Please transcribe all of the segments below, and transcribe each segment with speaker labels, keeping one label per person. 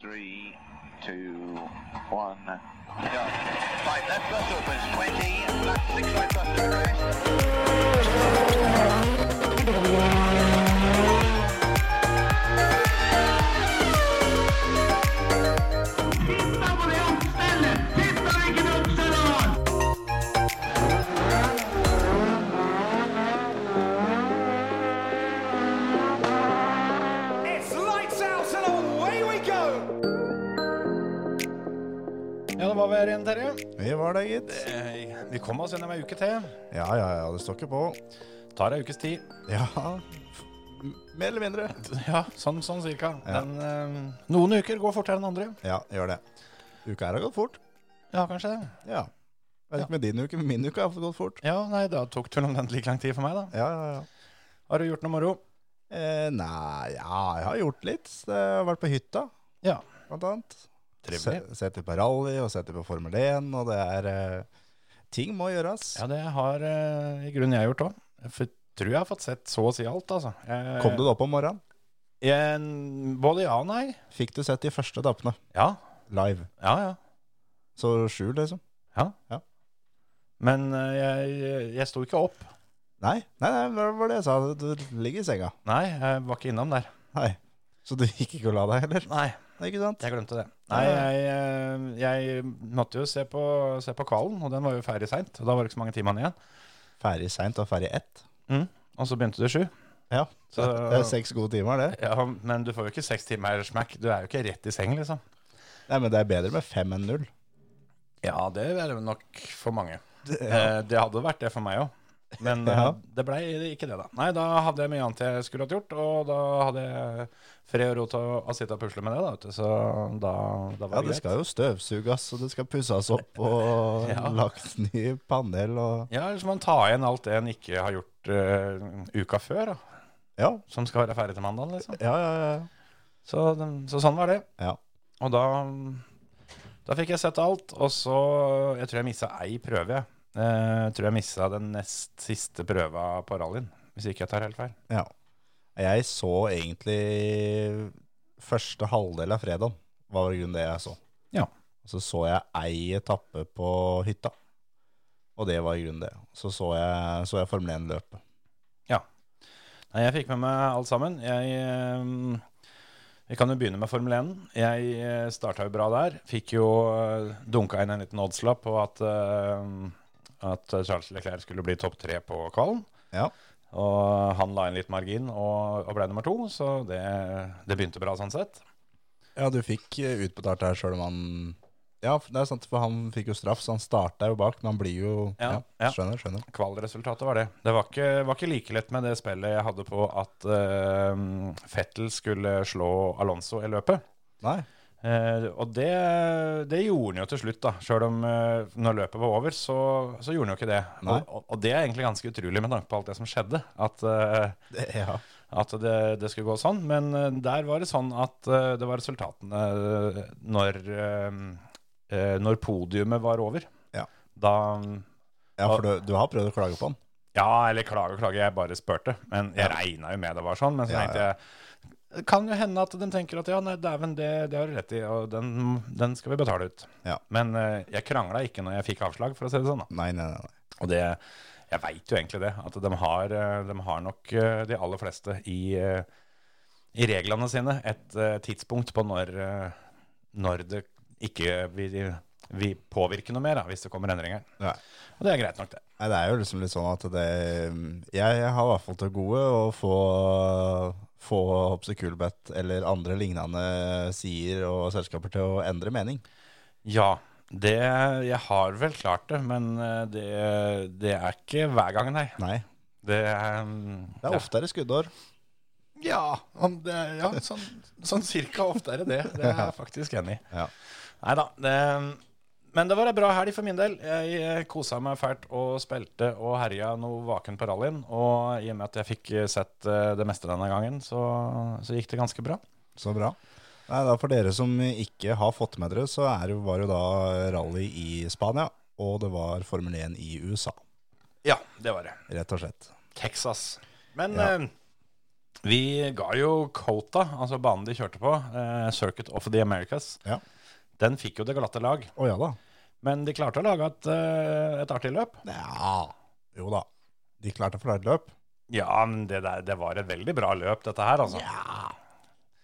Speaker 1: Three, two, one, go. Right, left bus opens 20, left six right bus to address.
Speaker 2: It's lights out and away we go!
Speaker 3: Ja, det var vi her igjen, Terje.
Speaker 4: Vi var der, gitt.
Speaker 3: Eh, Vi kom oss gjennom ei uke til.
Speaker 4: Ja, ja, ja, det står ikke på.
Speaker 3: Tar ei ukes tid.
Speaker 4: Ja, mer eller mindre.
Speaker 3: Ja, sånn, sånn cirka.
Speaker 4: Ja.
Speaker 3: Den, eh, noen uker går fortere enn andre.
Speaker 4: Ja, gjør det. Uka her har gått fort.
Speaker 3: Ja, kanskje det.
Speaker 4: Ja. Jeg vet ikke med din uke, men min uke har gått fort.
Speaker 3: Ja, nei, da tok turen om den like lang tid for meg, da.
Speaker 4: Ja, ja, ja.
Speaker 3: Har du gjort noe moro?
Speaker 4: Eh, nei, ja, jeg har gjort litt. Jeg har vært på hytta,
Speaker 3: Ja.
Speaker 4: blant annet.
Speaker 3: Trivelig.
Speaker 4: Se- Sett litt på rally, og sett litt på Formel 1, og det er... Eh, ting må gjøres.
Speaker 3: Ja, det har eh, i grunnen jeg gjort òg. Jeg tror jeg har fått sett så å si alt, altså. Jeg,
Speaker 4: Kom du da opp om morgenen?
Speaker 3: Jeg, både ja og nei.
Speaker 4: Fikk du sett de første etappene
Speaker 3: Ja,
Speaker 4: live?
Speaker 3: ja, ja.
Speaker 4: Så skjul, liksom.
Speaker 3: Men eh, jeg, jeg sto ikke opp.
Speaker 4: Nei, nei, nei, det var det jeg sa. Du ligger i senga.
Speaker 3: Nei, jeg var ikke innom der.
Speaker 4: Nei. Så du gikk ikke og la deg heller?
Speaker 3: Nei,
Speaker 4: Nei, ikke sant?
Speaker 3: Jeg glemte det. Nei, jeg, eh, jeg måtte jo se på, se på kvalen, og den var jo ferdig seint. Da var det ikke så mange timene igjen.
Speaker 4: Ferdig seint og ferdig ett.
Speaker 3: Og så begynte det sju.
Speaker 4: Ja,
Speaker 3: Så,
Speaker 4: det er seks gode timer, det.
Speaker 3: ja, men du får jo ikke seks timer smack. Du er jo ikke rett i seng, liksom.
Speaker 4: Nei, Men det er bedre med fem enn null.
Speaker 3: Ja, det er det nok for mange.
Speaker 4: Det-
Speaker 3: Eh, det hadde vært det for meg òg. Men eh,
Speaker 4: Ja.
Speaker 3: det blei ikke det, da. Nei, da hadde jeg mye annet jeg skulle hatt gjort, og da hadde jeg fred og ro til å, å sitte og pusle med det, da, vet du. Så da, da
Speaker 4: Ja,
Speaker 3: var
Speaker 4: det
Speaker 3: det greit.
Speaker 4: skal jo støvsuges, og det skal pusses opp og
Speaker 3: Ja.
Speaker 4: lagt ny panel og
Speaker 3: Ja, eller så må man ta igjen alt det en ikke har gjort eh, uka før, da.
Speaker 4: Ja,
Speaker 3: Som skal være ferdig til mandag, liksom.
Speaker 4: ja, ja. ja.
Speaker 3: Så, den, så sånn var det.
Speaker 4: ja.
Speaker 3: Og da, da fikk jeg sett alt. Og så Jeg tror jeg missa ei prøve. jeg. Eh, Jeg tror jeg missa den nest siste prøva på rallyen, hvis ikke jeg tar helt feil.
Speaker 4: ja. Jeg så egentlig første halvdel av fredagen, var i grunnen det jeg så.
Speaker 3: Ja.
Speaker 4: Og så så jeg ei etappe på hytta, og det var i grunnen det. Så så jeg, så jeg Formel 1 løpet.
Speaker 3: Nei, jeg fikk med meg alt sammen. Jeg eh, Vi kan jo begynne med Formel 1. Jeg starta jo bra der. Fikk jo eh, dunka inn en liten oddslapp på at, eh, at Charles Leclerc skulle bli topp tre på kvalen.
Speaker 4: Ja.
Speaker 3: Og han la inn litt margin og, og ble nummer to, så det, det begynte bra sånn sett.
Speaker 4: Ja, du fikk eh, utbetalt det her sjøl om han Ja, det er sant, for han fikk jo straff, så han starta jo bak, men han blir jo
Speaker 3: Ja,
Speaker 4: ja,
Speaker 3: ja.
Speaker 4: Skjønner, skjønner.
Speaker 3: Kvalresultatet var det. Det var ikke, var ikke like lett med det spillet jeg hadde på at eh, Fettel skulle slå Alonso i løpet.
Speaker 4: Nei.
Speaker 3: Eh, og det, det gjorde han jo til slutt, da. Sjøl om eh, når løpet var over, så, så gjorde han jo ikke det.
Speaker 4: Nei.
Speaker 3: Og, og- og det er egentlig ganske utrolig med tanke på alt det som skjedde. At, eh,
Speaker 4: Det, ja.
Speaker 3: at det, det skulle gå sånn. Men eh, der var det sånn at eh, det var resultatene eh, når, eh, eh, når podiumet var over.
Speaker 4: Ja.
Speaker 3: Da
Speaker 4: ja, for du, du har prøvd å klage på han.
Speaker 3: Ja, eller klage og klage, jeg bare spurte. Men jeg regna jo med det var sånn. Men så
Speaker 4: Ja,
Speaker 3: tenkte jeg det kan jo hende at de tenker at ja, nei, dæven, det, det har du rett i, og den, den skal vi betale ut.
Speaker 4: Ja.
Speaker 3: Men eh, jeg krangla ikke når jeg fikk avslag, for å si det sånn. da.
Speaker 4: Nei, nei, nei. nei.
Speaker 3: Og det, jeg veit jo egentlig det, at de har, eh, de har nok eh, de aller fleste i, eh, i reglene sine et eh, tidspunkt på når, eh, når det ikke vil, vil påvirke noe mer, da, hvis det kommer endringer.
Speaker 4: Nei.
Speaker 3: Og det er greit nok, det.
Speaker 4: Nei, det er jo liksom litt sånn at det Jeg, jeg har i hvert fall til gode å få få Hopse Kulbeth eller andre lignende sider og selskaper til å endre mening.
Speaker 3: Ja, det, jeg har vel klart det, men eh, det, det er ikke hver gang, nei.
Speaker 4: Nei.
Speaker 3: Det, er, mm,
Speaker 4: Det er oftere skuddår.
Speaker 3: Ja, om det, ja sånn, sånn cirka ofte er det det. Det er jeg faktisk enig i.
Speaker 4: Ja.
Speaker 3: Nei da. Det, men det var ei bra helg for min del. Jeg eh, kosa meg fælt og spilte og herja noe vaken på rallyen. Og i og med at jeg fikk eh, sett eh, det meste denne gangen, så, så gikk det ganske bra.
Speaker 4: Så bra. Nei, da For dere som ikke har fått med dere, så er det, var det jo da rally i Spania, og det var Formel 1 i USA,
Speaker 3: Ja, det var det.
Speaker 4: rett og slett.
Speaker 3: Texas. Men
Speaker 4: Ja.
Speaker 3: eh, Vi ga jo Cota, altså banen de kjørte på, eh, Circuit of the Americas,
Speaker 4: Ja.
Speaker 3: den fikk jo det glatte lag.
Speaker 4: Å ja da.
Speaker 3: Men de klarte å lage et, eh, et artig løp.
Speaker 4: Ja. Jo da. De klarte å forlate løp.
Speaker 3: Ja, men det, der, det var et veldig bra løp, dette her, altså.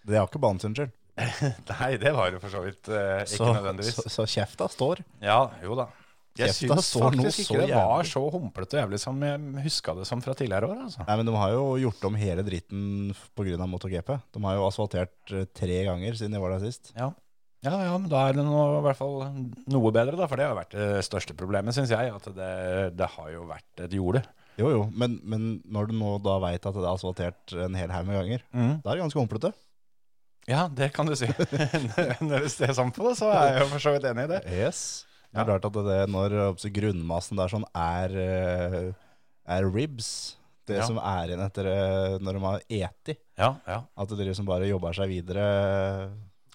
Speaker 4: Det har ikke banen sin skyld.
Speaker 3: Nei, det var det for så vidt eh, ikke
Speaker 4: Så,
Speaker 3: nødvendigvis.
Speaker 4: så, så kjefta står.
Speaker 3: Ja, jo da. Jeg
Speaker 4: Kjefta
Speaker 3: syns
Speaker 4: står nå
Speaker 3: faktisk
Speaker 4: så
Speaker 3: ikke det var
Speaker 4: jævlig.
Speaker 3: så humplete og jævlig som jeg huska det som fra tidligere år, altså.
Speaker 4: Nei, men De har jo gjort om hele dritten pga. MotoGP. De har jo asfaltert eh, tre ganger siden jeg var der sist.
Speaker 3: Ja. Ja, ja, men da er det nå i hvert fall noe bedre, da. For det har vært det største problemet, syns jeg. At det, det har jo vært et jorde.
Speaker 4: Jo, jo, men, men når du nå da veit at det er asfaltert en hel haug med ganger,
Speaker 3: Mm.
Speaker 4: da er det ganske humplete.
Speaker 3: Ja, det kan du si. Når du ser sånn på det, så er jeg jo for så vidt enig i det.
Speaker 4: Yes. Det
Speaker 3: Ja.
Speaker 4: er klart at det, når eh, altså, grunnmassen der sånn er, eh, er ribs, det
Speaker 3: Ja.
Speaker 4: som er igjen etter eh, når de har eti,
Speaker 3: Ja, ja.
Speaker 4: at det liksom bare jobber seg videre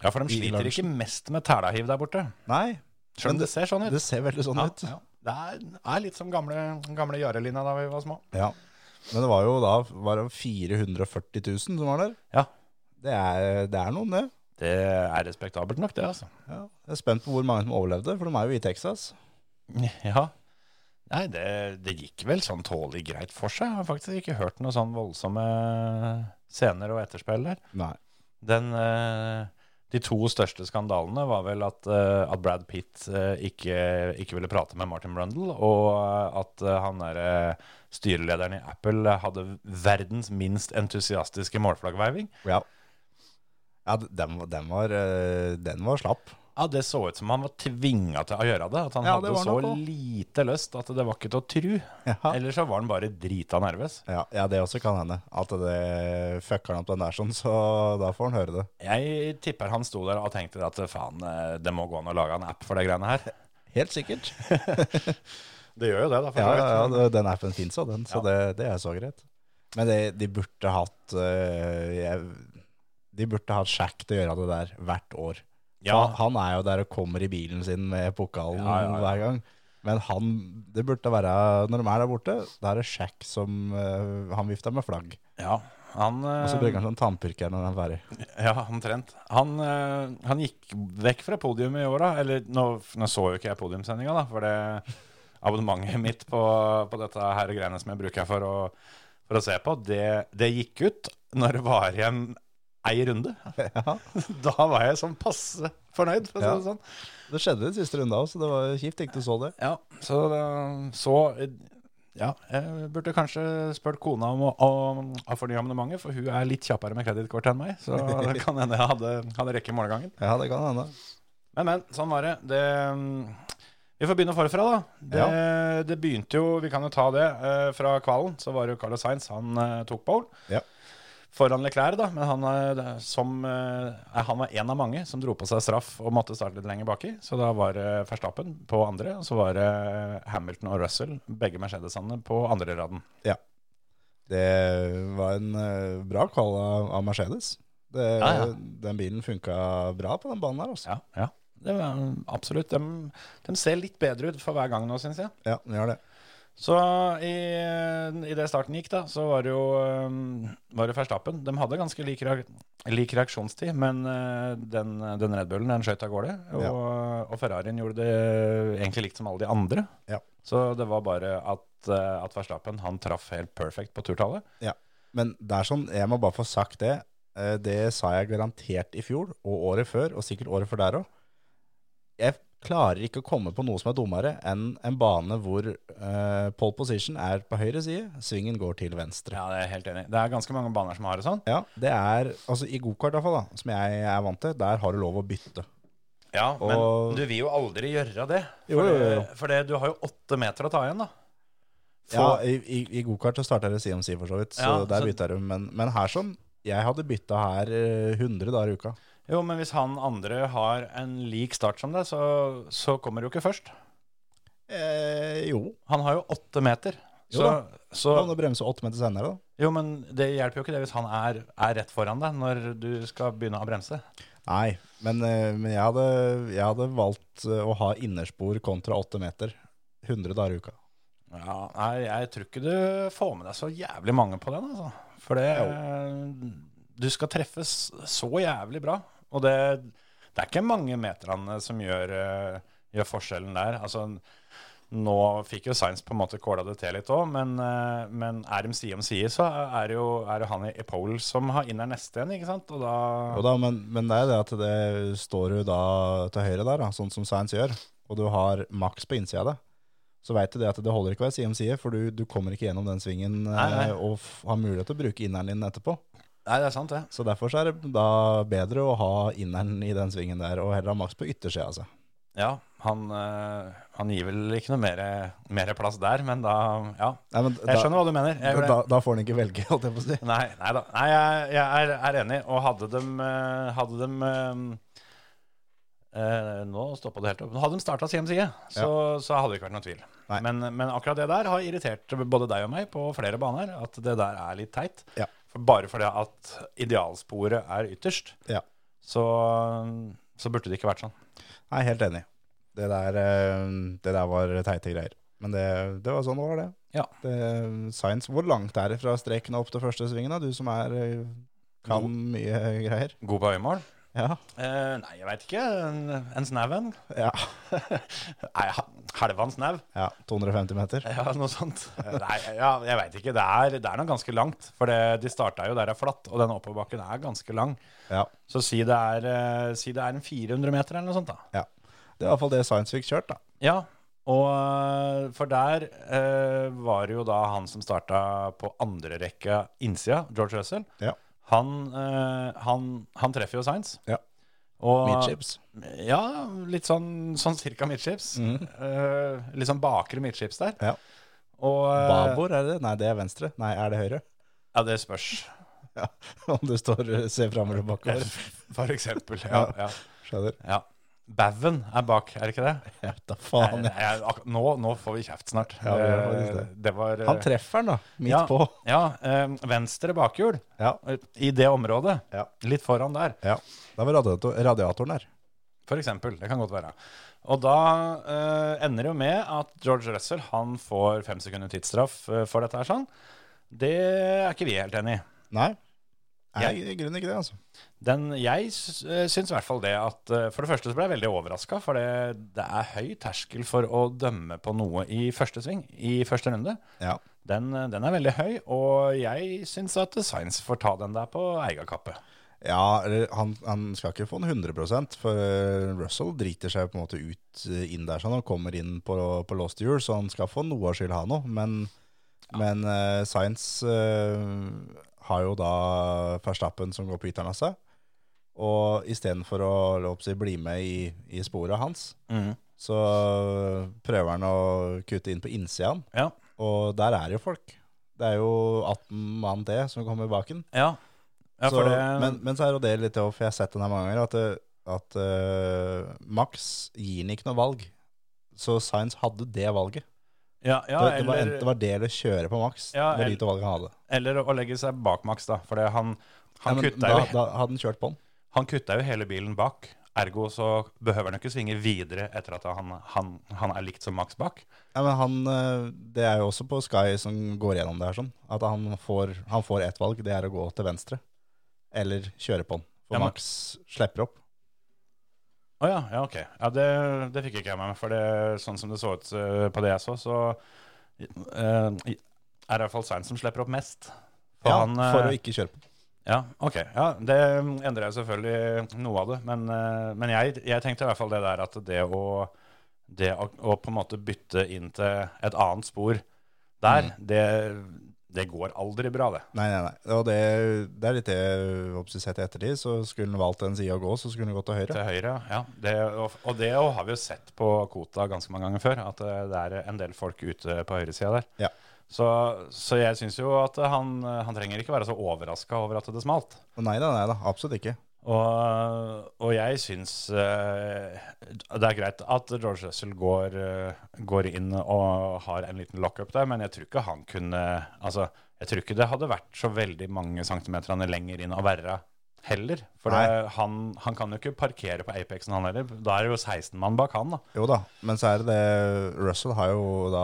Speaker 3: ja for de
Speaker 4: I
Speaker 3: sliter
Speaker 4: lunsjen.
Speaker 3: ikke mest med tælahiv der borte.
Speaker 4: Nei,
Speaker 3: Selv
Speaker 4: Men
Speaker 3: om det ser sånn ut.
Speaker 4: det ser veldig sånn
Speaker 3: Ja,
Speaker 4: ut.
Speaker 3: ja. Det er, er litt som gamle, gamle Jarelina da vi var små.
Speaker 4: Ja. Men det var jo da var det 440 000 som var der.
Speaker 3: Ja.
Speaker 4: Det er, det er noen, det.
Speaker 3: Det er respektabelt nok, det, altså.
Speaker 4: Ja. Jeg er spent på hvor mange som overlevde, for de er jo i Texas.
Speaker 3: Ja. Nei, det, det gikk vel sånn tålelig greit for seg. Jeg har faktisk ikke hørt noe sånn voldsomme scener og etterspill der.
Speaker 4: Nei.
Speaker 3: Den, eh, de to største skandalene var vel at, eh, at Brad Pitt eh, ikke, ikke ville prate med Martin Brundle, og eh, at eh, han der, eh, styrelederen i Apple eh, hadde verdens minst entusiastiske målflaggveiving.
Speaker 4: Ja. Ja, d- den, var- den, var, eh, den var slapp.
Speaker 3: Ja, Det så ut som han var tvinga til å gjøre det. At han
Speaker 4: Ja, det
Speaker 3: hadde
Speaker 4: var
Speaker 3: så
Speaker 4: nok også.
Speaker 3: lite lyst at det var ikke til å tru.
Speaker 4: Ja.
Speaker 3: Eller så var han bare drita nervøs.
Speaker 4: Ja, ja, det også kan hende. At det fucker han opp den der sånn, så da får han høre det.
Speaker 3: Jeg tipper han sto der og tenkte at faen, eh, det må gå an å lage en app for de greiene her.
Speaker 4: Helt sikkert.
Speaker 3: Det gjør jo det, da. for
Speaker 4: Ja,
Speaker 3: så
Speaker 4: ja,
Speaker 3: vidt.
Speaker 4: ja det- den appen fins òg, den. Så
Speaker 3: Ja.
Speaker 4: det, det er så greit. Men det, de burde hatt eh, jeg, De burde hatt Shack til å gjøre det der hvert år.
Speaker 3: Ja.
Speaker 4: For Han er jo der og kommer i bilen sin med pokalen
Speaker 3: Ja, ja, ja.
Speaker 4: hver gang. Men han, det burde være, når de er der borte, da er det Shack som eh, han vifter med flagg.
Speaker 3: Ja, han,
Speaker 4: Og så
Speaker 3: eh,
Speaker 4: bruker han sånn tannpirker når han er ferdig.
Speaker 3: ja, omtrent. Han, eh, han gikk vekk fra podiumet i år, da. Eller nå, nå så jo ikke jeg podiumsendinga, da, for det abonnementet mitt på, på dette her greiene som jeg bruker for å, for å se på, det, det gikk ut når det var igjen ei runde.
Speaker 4: Ja,
Speaker 3: Da var jeg sånn passe fornøyd, for å si det
Speaker 4: Ja.
Speaker 3: sånn.
Speaker 4: det skjedde den siste runden òg, så det var kjipt ikke du så det.
Speaker 3: Ja, så, eh, så eh, ja, jeg burde kanskje spurt kona om å, om å fornye abonnementet, for hun er litt kjappere med kredittkortet enn meg. Så det kan hende jeg hadde, hadde rekke målgangen.
Speaker 4: Ja, det kan hende.
Speaker 3: Men, men, sånn var det. det mm, vi får begynne forfra, da. Det, det begynte jo, vi kan jo ta det, eh, fra kvalen. Så var det jo Carlos Sainz, han eh, tok pole.
Speaker 4: Ja.
Speaker 3: Foran Leclerc, da. Men han, er- som, eh, er- han var en av mange som dro på seg straff og måtte starte litt lenger baki. Så da var det Verstappen på andre, og så var det eh, Hamilton og Russell, begge Mercedesene, på andre raden.
Speaker 4: Det var en eh, bra kval av, av Mercedes. Det,
Speaker 3: Ja, ja.
Speaker 4: Den bilen funka bra på den banen her, altså.
Speaker 3: Ja, ja. Det var, mm, absolutt. De, de ser litt bedre ut for hver gang nå, syns jeg.
Speaker 4: Ja, den gjør det.
Speaker 3: Så i, i det starten gikk, da, så var det jo um, var det Verstappen. De hadde ganske lik, reak lik reaksjonstid, men eh, den, den Red Bullen den skjøt av gårde. Og, og Ferrarien gjorde det egentlig likt som alle de andre.
Speaker 4: Ja.
Speaker 3: Så det var bare at, eh, at Verstappen han traff helt perfekt på turtallet.
Speaker 4: Men det er sånn, jeg må bare få sagt det. Eh, Det sa jeg garantert i fjor, og året før, og sikkert året før der òg. Jeg klarer ikke å komme på noe som er dummere enn en bane hvor eh, pole position er på høyre side, svingen går til venstre.
Speaker 3: Ja, Det er jeg helt enig. i. Det er ganske mange baner som har det sånn.
Speaker 4: Ja, det er, altså I gokart, iallfall, da, som jeg er vant til, der har du lov å bytte.
Speaker 3: Ja, Men
Speaker 4: Og-
Speaker 3: du vil jo aldri gjøre det.
Speaker 4: Jo,
Speaker 3: For,
Speaker 4: jo, jo.
Speaker 3: det- for det, du har jo åtte meter å ta igjen, da.
Speaker 4: Ja,
Speaker 3: Få-
Speaker 4: I i, i gokart så starter det side om side, for så vidt. Så
Speaker 3: Ja,
Speaker 4: der
Speaker 3: så-
Speaker 4: bytter du. Men, men her sånn, jeg hadde bytta her eh, 100 dager i uka.
Speaker 3: Jo, men hvis han andre har en lik start som deg, så, så kommer du jo ikke først.
Speaker 4: Eh, jo.
Speaker 3: Han har jo åtte meter.
Speaker 4: Jo
Speaker 3: Så,
Speaker 4: da.
Speaker 3: så,
Speaker 4: Da må du bremse åtte meter senere, da.
Speaker 3: jo, men det hjelper jo ikke det hvis han er, er rett foran deg når du skal begynne å bremse.
Speaker 4: Nei, men, eh, men jeg, hadde, jeg hadde valgt eh, å ha innerspor kontra åtte meter. 100 dager i uka.
Speaker 3: Ja, nei, jeg tror ikke du får med deg så jævlig mange på den, altså. For det eh, Du skal treffes så jævlig bra. Og det, det er ikke mange meterne som gjør, eh, gjør forskjellen der. Altså, nå fikk jo Sainz på en måte kåla det til litt òg, men, eh, men er de side om side, så er det jo er det han i i pole som har inner neste igjen, ikke sant? Og da
Speaker 4: Jo da, men, men det er det at det står du da til høyre der, da, sånn som Science gjør, og du har maks på innsida av deg, så veit du det at det holder ikke å være side om side, for du, du kommer ikke gjennom den svingen
Speaker 3: Nei, nei.
Speaker 4: eh, og f har mulighet til å bruke inneren din etterpå.
Speaker 3: Nei, det er sant, det.
Speaker 4: Så derfor så er det da bedre å ha inneren i den svingen der, og heller ha maks på yttersida altså. av seg.
Speaker 3: Ja, han, eh, han gir vel ikke noe mer plass der, men da Ja.
Speaker 4: Nei, men
Speaker 3: Jeg skjønner hva du mener. Jeg
Speaker 4: da,
Speaker 3: gjør det.
Speaker 4: da, da får han ikke velge, holdt jeg på å si.
Speaker 3: Nei, nei da. Nei, jeg, jeg er, er enig. Og hadde de, eh, hadde dem, eh, eh, Nå stoppa det helt opp. Men Hadde de starta side om side, så, så hadde det ikke vært noen tvil.
Speaker 4: Nei.
Speaker 3: Men, men akkurat det der har irritert både deg og meg på flere baner. At det der er litt teit.
Speaker 4: Ja.
Speaker 3: For bare fordi at idealsporet er ytterst,
Speaker 4: Ja.
Speaker 3: så, så burde det ikke vært sånn.
Speaker 4: Nei, helt enig. Det der, eh, det der var teite greier. Men det, det var sånn det var, det.
Speaker 3: Ja.
Speaker 4: det science, hvor langt er det fra streken og opp til første svingen, da? Du som er, eh, kan
Speaker 3: God.
Speaker 4: mye greier.
Speaker 3: God på øyemål?
Speaker 4: Ja.
Speaker 3: Eh, nei, jeg veit ikke. En, en snau en?
Speaker 4: ja.
Speaker 3: Nei, ha- Halva en snau?
Speaker 4: Ja, 250 meter.
Speaker 3: Ja, noe sånt. Eh, Nei, ja, jeg veit ikke. Det er, det er nok ganske langt. For det, de starta jo der det er flatt, og den oppoverbakken er ganske lang.
Speaker 4: Ja.
Speaker 3: Så si det er, eh, si det er en 400 meter eller noe sånt, da.
Speaker 4: ja. Det er i hvert fall det Science fikk kjørt, da.
Speaker 3: Ja, og eh, for der eh, var det jo da han som starta på andre rekka innsida, George Russell,
Speaker 4: Ja.
Speaker 3: han, eh, han, han treffer jo Science.
Speaker 4: Ja.
Speaker 3: Og,
Speaker 4: Midchips.
Speaker 3: Ja, litt sånn, sånn cirka midtskips. Eh, litt sånn bakre midtskips der.
Speaker 4: Mhm. Ja.
Speaker 3: Og, eh,
Speaker 4: Babord, er det? Nei, det er venstre. Nei, er det høyre?
Speaker 3: Ja, det spørs.
Speaker 4: Ja. Om du står ser fram eller bakover.
Speaker 3: For eksempel. Ja, ja.
Speaker 4: Skjønner.
Speaker 3: ja. Baugen er bak, er det ikke det?
Speaker 4: Ja, da faen.
Speaker 3: Nei,
Speaker 4: jeg.
Speaker 3: jeg- ak- nå, nå får vi kjeft snart.
Speaker 4: Ja, vi gjør faktisk
Speaker 3: Eh, det var eh,
Speaker 4: Han treffer den, da. Midt
Speaker 3: ja,
Speaker 4: på.
Speaker 3: Ja. eh, Venstre bakhjul
Speaker 4: Ja.
Speaker 3: eh, i det området.
Speaker 4: Ja.
Speaker 3: Litt foran der,
Speaker 4: ja. Da var radiator, radiatoren der.
Speaker 3: for eksempel. Det kan godt være. Og da eh, ender det jo med at George Russell han får fem sekunder tidsstraff eh, for dette her. sånn. Det er ikke vi helt enig i.
Speaker 4: Nei. Nei, i grunnen ikke det, altså.
Speaker 3: Den, jeg s- eh, syns i hvert fall det at eh, For det første så ble jeg veldig overraska, for det, det er høy terskel for å dømme på noe i første sving, i første runde.
Speaker 4: Ja.
Speaker 3: Den, eh, den er veldig høy, og jeg syns at Science får ta den der på egen kappe.
Speaker 4: Ja, eller han, han skal ikke få den 100 for eh, Russell driter seg på en måte ut eh, inn der, så han kommer inn på, på låste hjul, så han skal få noe av skyld, han òg. Men, men eh, Science eh, har jo da Verstappen som går på ytteren av seg, og istedenfor å la opp si, bli med i, i sporet hans, så prøver han å kutte inn på innsida, han,
Speaker 3: Ja,
Speaker 4: og der er det jo folk. Det er jo 18 mann til som kommer bak han.
Speaker 3: ja. ja
Speaker 4: Så,
Speaker 3: for det,
Speaker 4: men, men så er jo det litt over, for jeg har sett den her mange ganger, at, det- at eh, Max gir den ikke noe valg. Så Sainz hadde det valget.
Speaker 3: ja, ja,
Speaker 4: det, det, var
Speaker 3: eller-
Speaker 4: enten, det var det eller kjøre på Max.
Speaker 3: Ja,
Speaker 4: det var
Speaker 3: el-
Speaker 4: de to valgene han hadde.
Speaker 3: Eller å legge seg bak Max, da. For det han, han,
Speaker 4: Nei, men
Speaker 3: kutta
Speaker 4: da,
Speaker 3: jo,
Speaker 4: da hadde han kjørt på den.
Speaker 3: han kutta jo hele bilen bak. Ergo så behøver han jo ikke svinge videre etter at han, han, han er likt som Max bak.
Speaker 4: Nei, men han, eh, det er jo også på Sky som går gjennom det her sånn, at han får, han får ett valg, det er å gå til venstre. Eller kjøre på den.
Speaker 3: Ja,
Speaker 4: For
Speaker 3: men-
Speaker 4: Max slipper opp.
Speaker 3: Å ja, ja, ok. Ja, det, det fikk ikke jeg med meg. For det, sånn som det så ut eh, på det jeg så, så eh, er det i hvert fall Svein som slipper opp mest. For
Speaker 4: Ja,
Speaker 3: han, eh,
Speaker 4: for å ikke kjøre på den.
Speaker 3: Ja, ok. Ja, det um, endrer jo selvfølgelig noe av det. Men, eh, men jeg, jeg tenkte i hvert fall det der at det å, det å, å på en måte bytte inn til et annet spor der, det, det går aldri bra, det.
Speaker 4: Nei, nei, nei. Og det, det er litt det oppsett sett i ettertid. Så skulle han valgt den sida å gå, så skulle han gått til høyre.
Speaker 3: Til høyre, ja. Det, og, og det har vi jo sett på Kota ganske mange ganger før, at eh, det er en del folk ute på høyresida der.
Speaker 4: Ja.
Speaker 3: Så, så jeg syns jo at han, han trenger ikke være så overraska over at det smalt.
Speaker 4: Nei da, nei da, absolutt ikke.
Speaker 3: Og, og jeg syns eh, det er greit at George Russell går, eh, går inn og har en liten lockup der, men jeg tror ikke han kunne Altså, jeg tror ikke det hadde vært så veldig mange centimeterne lenger inn å være heller. For
Speaker 4: Nei.
Speaker 3: det, han, han kan jo ikke parkere på Apexen, han heller. Da er det jo 16 mann bak han, da.
Speaker 4: Jo da, men så er det det Russell har jo da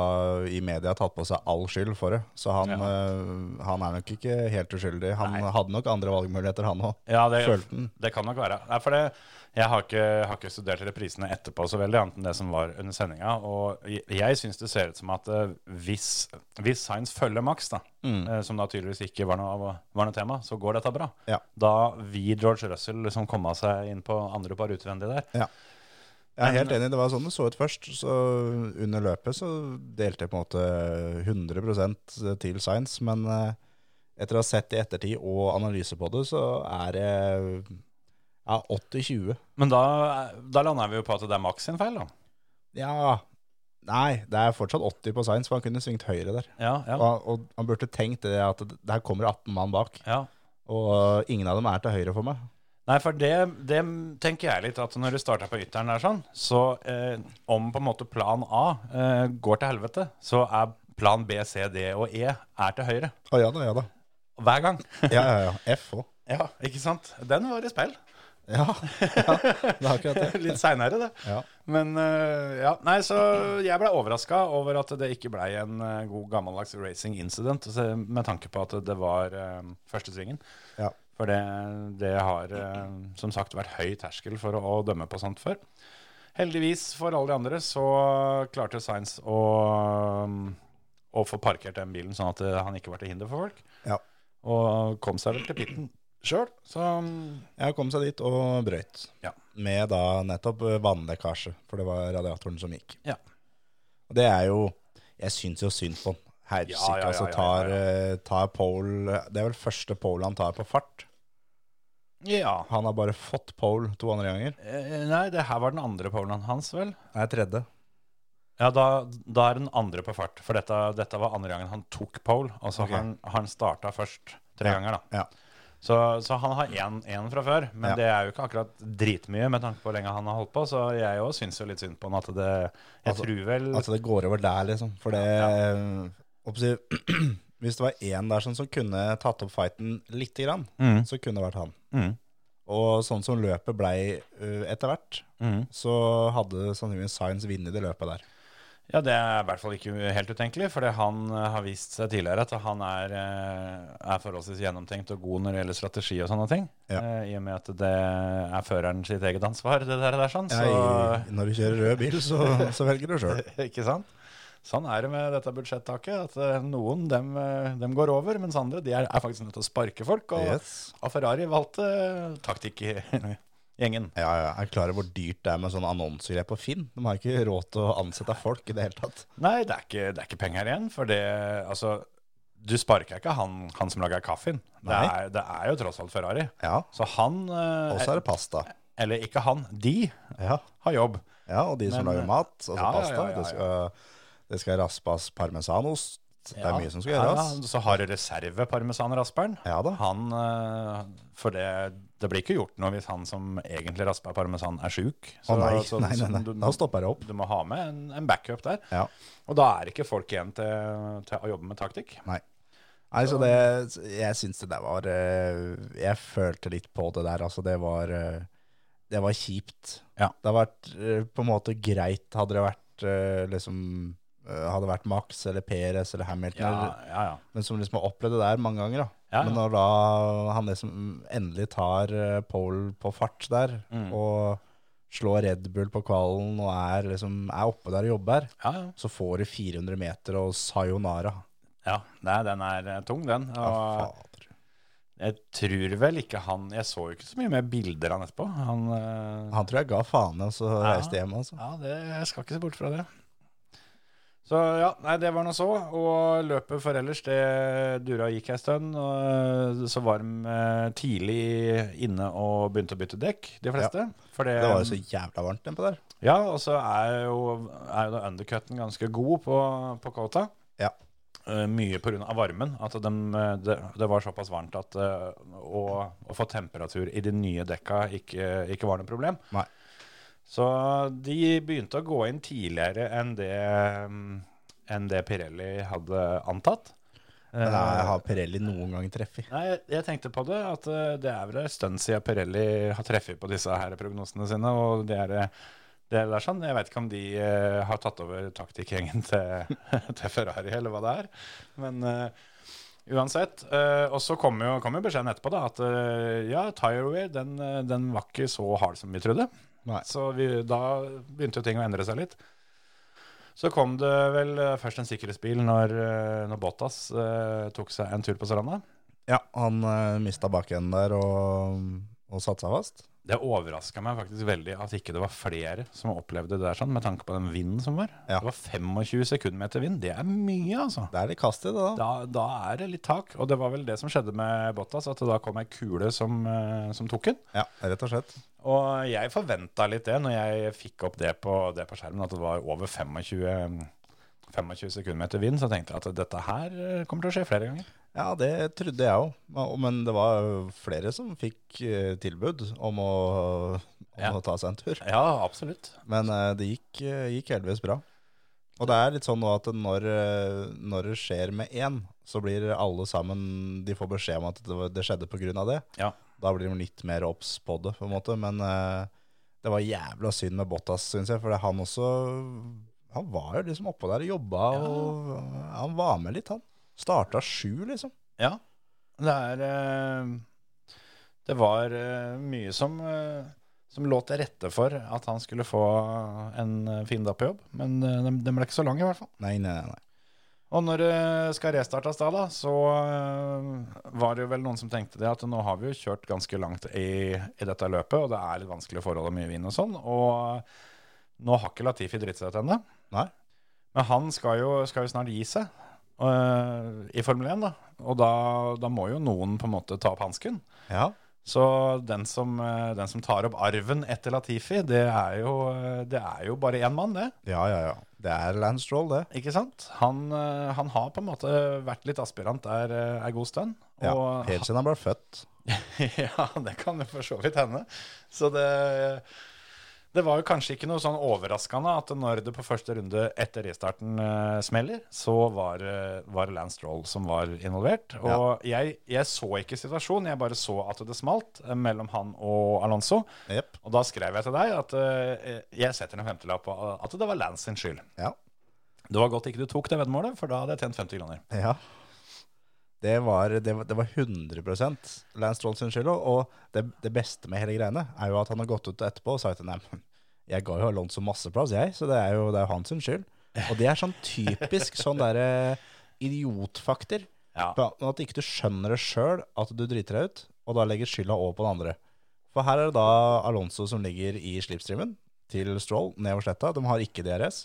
Speaker 4: i media tatt på seg all skyld for det. Så han,
Speaker 3: Ja.
Speaker 4: eh, han er nok ikke helt uskyldig. Han hadde nok andre valgmuligheter, han òg.
Speaker 3: Ja, det,
Speaker 4: Følte den.
Speaker 3: det kan nok være. Nei, for det, jeg har ikke, har ikke studert reprisene etterpå så veldig, annet enn det som var under sendinga. Og jeg, jeg syns det ser ut som at eh, hvis, hvis Sainz følger Max, da,
Speaker 4: Mm.
Speaker 3: eh, som da tydeligvis ikke var noe, var noe tema, så går dette bra.
Speaker 4: Ja.
Speaker 3: Da vil George Russell liksom komme seg inn på andre par utvendig der.
Speaker 4: Jeg er
Speaker 3: Men-
Speaker 4: helt enig, det var sånn det så ut først. Så under løpet så delte jeg på en måte 100 til Science, men eh, etter å ha sett i ettertid og analyse på det, så er det ja, 80-20.
Speaker 3: Men da, eh, da lander vi jo på at det er Max sin feil, da.
Speaker 4: Ja, nei, det er fortsatt 80 på Science, for han kunne svingt høyre der.
Speaker 3: Ja,
Speaker 4: Og,
Speaker 3: ja,
Speaker 4: og han burde tenkt det at det her kommer 18 mann bak,
Speaker 3: ja.
Speaker 4: og ingen av dem er til høyre for meg.
Speaker 3: Nei, for det, det tenker jeg litt, at når du starter på ytteren der sånn, så eh, om på en måte plan A eh, går til helvete, så er plan B, C, D og E er til høyre.
Speaker 4: Å ja da, ja da.
Speaker 3: Hver gang.
Speaker 4: Ja, ja, ja. F òg.
Speaker 3: Ja, ikke sant? Den var i spill.
Speaker 4: Ja, ja, det er akkurat det.
Speaker 3: litt seinere, det.
Speaker 4: Ja.
Speaker 3: Men eh, ja, nei, så jeg ble overraska over at det ikke blei en eh, god gammeldags racing incident, så- med tanke på at det var eh, første svingen.
Speaker 4: Ja.
Speaker 3: For det, det har eh, som sagt vært høy terskel for å, å dømme på sånt før. Heldigvis for alle de andre så klarte Sainz å, mm, å få parkert den bilen sånn at eh, han ikke var til hinder for folk,
Speaker 4: Ja.
Speaker 3: og kom seg vel til pitten sjøl, så mm,
Speaker 4: Jeg kom seg dit og brøyt.
Speaker 3: Ja.
Speaker 4: Med da nettopp eh, vannlekkasje, for det var radiatoren som gikk.
Speaker 3: Ja.
Speaker 4: Og det er jo Jeg syns jo synd på han. Helsike,
Speaker 3: Ja, ja, ja,
Speaker 4: altså.
Speaker 3: ja, ja,
Speaker 4: Tar,
Speaker 3: ja.
Speaker 4: eh, tar pole Det er vel første pole han tar på fart.
Speaker 3: ja.
Speaker 4: Han har bare fått pole to andre ganger.
Speaker 3: Eh, Nei, det her var den andre polen hans, vel?
Speaker 4: Nei, tredje.
Speaker 3: Ja, da, da er den andre på fart. For dette, dette var andre gangen han tok pole. Altså
Speaker 4: Ok.
Speaker 3: han, han starta først tre
Speaker 4: Ja,
Speaker 3: ganger, da.
Speaker 4: ja.
Speaker 3: Så, så han har én fra før, men
Speaker 4: Ja.
Speaker 3: det er jo ikke akkurat dritmye med tanke på hvor lenge han har holdt på, så jeg òg syns jo litt synd på han at det Jeg
Speaker 4: Altså-
Speaker 3: tror vel
Speaker 4: Altså, det går over der, liksom. For det
Speaker 3: Ja,
Speaker 4: Hva skal jeg si, Hvis det var én der som, som kunne tatt opp fighten lite grann,
Speaker 3: Mm.
Speaker 4: så kunne det vært han.
Speaker 3: Mm,
Speaker 4: Og sånn som løpet blei eh, etter hvert,
Speaker 3: mm.
Speaker 4: så hadde sannsynligvis Science vunnet det løpet der.
Speaker 3: Ja, det er i hvert fall ikke helt utenkelig, fordi han eh, har vist seg tidligere at han er, eh, er forholdsvis gjennomtenkt og god når det gjelder strategi og sånne ting.
Speaker 4: Ja.
Speaker 3: Eh, I og med at det er føreren sitt eget ansvar, det der. der sånn, så,
Speaker 4: Ja, i- når du kjører rød bil, så, så velger du sjøl.
Speaker 3: Ikke sant? Sånn er det med dette budsjettaket. At eh, noen dem, eh, dem går over, mens andre de er, er faktisk nødt til å sparke folk. Og,
Speaker 4: Yes.
Speaker 3: og Ferrari valgte taktikkgjengen.
Speaker 4: Ja, ja. Jeg er klar over hvor dyrt det er med sånne annonsegreier på Finn. De har ikke råd til å ansette folk i det hele tatt.
Speaker 3: Nei, det er ikke, det er ikke penger igjen. For det Altså, du sparker ikke han, han som lager kaffen. Det
Speaker 4: Nei.
Speaker 3: er, det er jo tross alt Ferrari.
Speaker 4: Ja,
Speaker 3: Så han eh,
Speaker 4: Og så er det pasta.
Speaker 3: Eller ikke han. De
Speaker 4: Ja,
Speaker 3: har jobb.
Speaker 4: ja og de som
Speaker 3: Men,
Speaker 4: lager mat, altså
Speaker 3: ja, ja,
Speaker 4: pasta,
Speaker 3: ja, ja,
Speaker 4: Det, skal, det skal raspes parmesanost. Det er
Speaker 3: Ja.
Speaker 4: mye som skal gjøres.
Speaker 3: Ja, så har du reserveparmesanrasperen.
Speaker 4: Ja da.
Speaker 3: Han, eh, for det, det blir ikke gjort noe hvis han som egentlig raspa parmesan er sjuk.
Speaker 4: Å nei,
Speaker 3: så-
Speaker 4: nei, nei,
Speaker 3: så
Speaker 4: nei.
Speaker 3: du-
Speaker 4: Da stopper det opp.
Speaker 3: Du må ha med en, en backup der.
Speaker 4: Ja.
Speaker 3: Og da er ikke folk igjen til, til å jobbe med taktikk.
Speaker 4: Nei. Nei, så det, jeg syns det der var eh, Jeg følte litt på det der, altså. Det var, eh, det var kjipt.
Speaker 3: Ja.
Speaker 4: Det hadde vært eh, på en måte greit hadde det vært eh, liksom eh, Hadde det vært Max eller Perez eller Hamilton,
Speaker 3: Ja,
Speaker 4: eller,
Speaker 3: ja, ja.
Speaker 4: men som liksom har opplevd det der mange ganger, da.
Speaker 3: Ja, ja.
Speaker 4: Men når da han liksom endelig tar eh, pole på fart der,
Speaker 3: Mm.
Speaker 4: og slår Red Bull på kvalen og er liksom er oppe der og jobber,
Speaker 3: ja, ja.
Speaker 4: så får du 400 meter og sayonara.
Speaker 3: ja. Nei, den er eh, tung, den. Og,
Speaker 4: Ja, fader.
Speaker 3: Jeg tror vel ikke han Jeg så jo ikke så mye mer bilder han etterpå. Han, eh,
Speaker 4: Han tror jeg ga faen i, og så reiste hjem. altså.
Speaker 3: Ja, det, jeg skal ikke se bort fra det. Så ja, nei, det var noe så. Og løpet for ellers, det dura og gikk ei stund. Og så var de eh, tidlig inne og begynte å bytte dekk, de fleste. For det,
Speaker 4: Det var jo så jævla varmt nedpå der.
Speaker 3: Ja, og så er jo, er jo da undercutten ganske god på, på Kota.
Speaker 4: Ja.
Speaker 3: Eh, mye pga. varmen. At de, eh, det, det var såpass varmt at eh, å, å få temperatur i de nye dekka ikke, ikke var noe problem.
Speaker 4: Nei.
Speaker 3: Så de begynte å gå inn tidligere enn det, mm, enn det Pirelli hadde antatt.
Speaker 4: Men jeg har Pirelli noen gang treff i.
Speaker 3: Nei, jeg, jeg tenkte på det, at eh, det er vel en stund siden Pirelli har treffet på disse her prognosene sine. og det er... eh, Det er der sånn. Jeg vet ikke om de eh, har tatt over taktikkgjengen til, til Ferrari, eller hva det er. Men eh, uansett. eh, og så kom jo, kom jo beskjeden etterpå da, at eh, ja, Tirewear den, eh, den var ikke så hard som vi trodde.
Speaker 4: Nei.
Speaker 3: Så vi, da begynte jo ting å endre seg litt. Så kom det vel eh, først en sikkerhetsbil når, eh, når Bottas eh, tok seg en tur på stranda.
Speaker 4: Ja, han uh, mista bakenden der og, og satte seg fast.
Speaker 3: Det overraska meg faktisk veldig at ikke det var flere som opplevde det der sånn, med tanke på den vinden som var.
Speaker 4: Ja.
Speaker 3: Det var 25 sekundmeter vind. Det er mye, altså.
Speaker 4: Det er litt kast i det, da.
Speaker 3: Da, da er det litt tak. Og det var vel det som skjedde med Bottas, at det da kom ei kule som, eh, som tok den.
Speaker 4: Ja, rett og slett.
Speaker 3: Og jeg forventa litt det når jeg fikk opp det på, det på skjermen, at det var over 25, 25 sekundmeter vind. Så tenkte jeg at dette her eh, kommer til å skje flere ganger.
Speaker 4: Ja, det trodde jeg òg. Men det var flere som fikk eh, tilbud om å, om
Speaker 3: Ja.
Speaker 4: å ta seg en tur.
Speaker 3: Ja, absolutt.
Speaker 4: Men eh, det gikk, eh, gikk heldigvis bra. Og det er litt sånn nå at når, eh, når det skjer med én, så blir alle sammen De får beskjed om at det, var- det skjedde pga. det.
Speaker 3: Ja.
Speaker 4: Da blir de litt mer obs på det, på en måte. Men eh, det var jævla synd med Bottas, syns jeg. For han også Han var jo liksom oppå der og jobba, og eh, han var med litt, han. Starta sju, liksom.
Speaker 3: Ja, det er eh, Det var eh, mye som, eh, som lå til rette for at han skulle få en eh, fin dag på jobb, men eh, den, den ble ikke så lang, i hvert fall.
Speaker 4: Nei, nei, nei. nei.
Speaker 3: Og når det skal restartes da, da, så eh, var det jo vel noen som tenkte det at nå har vi jo kjørt ganske langt i, i dette løpet, og det er litt vanskelige forhold og mye vind og sånn, og eh, nå har ikke Latifi dritt seg ut ennå.
Speaker 4: Nei.
Speaker 3: Men han skal jo, skal jo snart gi seg eh, i Formel 1, da. Og da, da må jo noen på en måte ta opp hansken.
Speaker 4: Ja,
Speaker 3: Så den som, eh, den som tar opp arven etter Latifi, det er jo, eh, det er jo bare én mann, det.
Speaker 4: ja, ja. ja. Det er Lance Stroll, det.
Speaker 3: Ikke sant? Han, eh, han har på en måte vært litt aspirant der eh, en god stund.
Speaker 4: Ja,
Speaker 3: og-
Speaker 4: helt siden han ble født.
Speaker 3: ja, det kan jo for så vidt hende. Så det, det var jo kanskje ikke noe sånn overraskende at når det på første runde etter restarten eh, smeller, så var, eh, var det Lance Stroll som var involvert. Og jeg, jeg så ikke situasjonen, jeg bare så at det smalt eh, mellom han og Alonso.
Speaker 4: Jepp.
Speaker 3: Og da skrev jeg til deg at eh, jeg setter en femtelapp på at det var Lance sin skyld.
Speaker 4: Ja.
Speaker 3: Det var godt ikke du tok det veddemålet, for da hadde jeg tjent 50 kroner.
Speaker 4: ja. Det var, det, var, det var 100 Lance Stroll sin skyld. Og og det, det beste med hele greiene er jo at han har gått ut etterpå og sagt at nei, men jeg ga jo Alonso masse plass, jeg, så det er jo, det er jo hans sin skyld. Og det er sånn typisk sånn derre idiotfakter.
Speaker 3: Ja.
Speaker 4: På at ikke du skjønner det sjøl at du driter deg ut, og da legger skylda over på den andre. For her er det da Alonso som ligger i slipstreamen til Stroll nedover sletta. De har ikke DRS.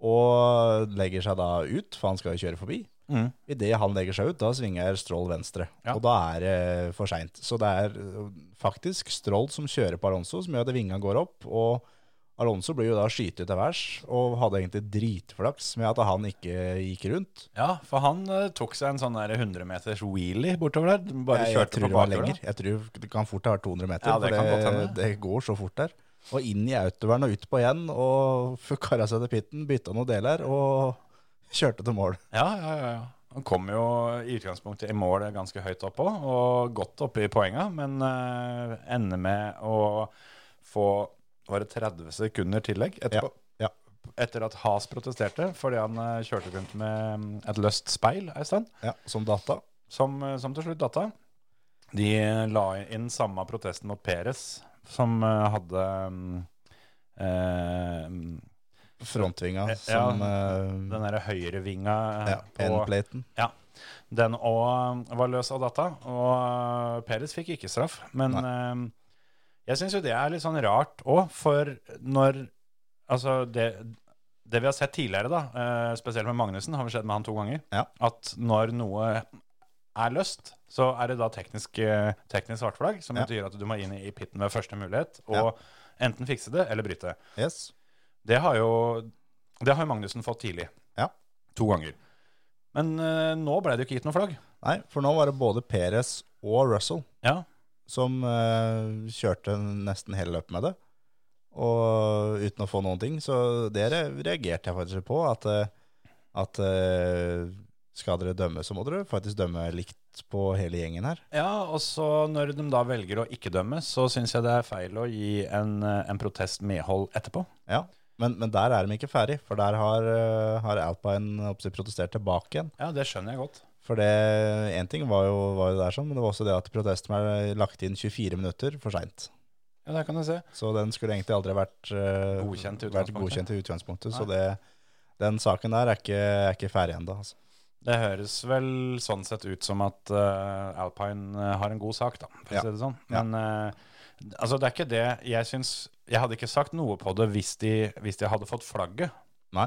Speaker 4: Og legger seg da ut, for han skal jo kjøre forbi.
Speaker 3: Mm.
Speaker 4: Idet han legger seg ut, da svinger Stroll venstre.
Speaker 3: Ja.
Speaker 4: Og da er det for seint. Så det er eh, faktisk Stroll som kjører på Alonso, som gjør at vinga går opp. Og Alonso blir jo da skytet til værs, og hadde egentlig dritflaks med at han ikke gikk rundt.
Speaker 3: Ja, for han eh, tok seg en sånn der 100 meters wheelie bortover der. Bare
Speaker 4: Jeg, jeg
Speaker 3: kjørte
Speaker 4: tror
Speaker 3: på
Speaker 4: det var
Speaker 3: bakhjulet.
Speaker 4: lenger. Jeg tror det kan fort ha vært 200 meter.
Speaker 3: Ja, det
Speaker 4: for
Speaker 3: kan godt hende.
Speaker 4: det går så fort der. Og inn i autovern og ut på igjen, og f- kara seg til pitten, bytta noen deler og kjørte til mål.
Speaker 3: Ja, ja, ja, ja. Han kom jo i utgangspunktet i mål ganske høyt oppå, og godt oppe i poenga, men eh, ender med å få var det 30 sekunder tillegg etterpå.
Speaker 4: Ja, ja.
Speaker 3: Etter at Has protesterte fordi han eh, kjørte rundt med mm, et løst speil ei stund.
Speaker 4: Ja, Som data.
Speaker 3: som, eh, som til slutt datta. De eh, la inn samme protesten mot Peres, som eh, hadde mm, eh,
Speaker 4: Frontvinga
Speaker 3: Ja,
Speaker 4: som eh,
Speaker 3: den derre høyrevinga eh,
Speaker 4: ja,
Speaker 3: på
Speaker 4: endplaten.
Speaker 3: ja, Den òg var løs av datta, og eh, Peres fikk ikke straff. Men eh, jeg syns jo det er litt sånn rart òg, for når Altså, det, det vi har sett tidligere, da, eh, spesielt med Magnussen, har vi sett med han to ganger,
Speaker 4: Ja.
Speaker 3: at når noe er løst, så er det da teknisk, eh, teknisk svart flagg, som
Speaker 4: Ja.
Speaker 3: betyr at du må inn i i pitten ved første mulighet, og
Speaker 4: Ja.
Speaker 3: enten fikse det eller bryte.
Speaker 4: Yes.
Speaker 3: Det har jo det har jo Magnussen fått tidlig.
Speaker 4: Ja.
Speaker 3: To ganger. Men eh, nå ble det jo ikke gitt noe flagg.
Speaker 4: Nei, for nå var det både Perez og Russell
Speaker 3: Ja,
Speaker 4: som eh, kjørte nesten hele løpet med det. Og uten å få noen ting. Så det re- reagerte jeg faktisk på. At, eh, at eh, skal dere dømme, så må dere faktisk dømme likt på hele gjengen her.
Speaker 3: Ja, og så når de da velger å ikke dømme, så syns jeg det er feil å gi en, eh, en protest medhold etterpå.
Speaker 4: Ja, Men, men der er de ikke ferdig, for der har, eh, har Alpine jeg håper å si, protestert tilbake igjen.
Speaker 3: Ja, det skjønner jeg godt.
Speaker 4: For det én ting var jo, var jo der sånn, men det var også det at protesten ble lagt inn 24 minutter for seint.
Speaker 3: Ja, der kan du se.
Speaker 4: Så den skulle egentlig aldri vært eh,
Speaker 3: Godkjent i
Speaker 4: vært
Speaker 3: utgangspunktet.
Speaker 4: godkjent i utgangspunktet. Så
Speaker 3: Nei.
Speaker 4: det, den saken der er ikke, er ikke ferdig ennå. Altså.
Speaker 3: Det høres vel sånn sett ut som at eh, Alpine eh, har en god sak, da, for
Speaker 4: Ja.
Speaker 3: å si det sånn.
Speaker 4: Ja.
Speaker 3: Men eh, altså, det er ikke det jeg syns Jeg hadde ikke sagt noe på det hvis de, hvis de hadde fått flagget,
Speaker 4: Nei.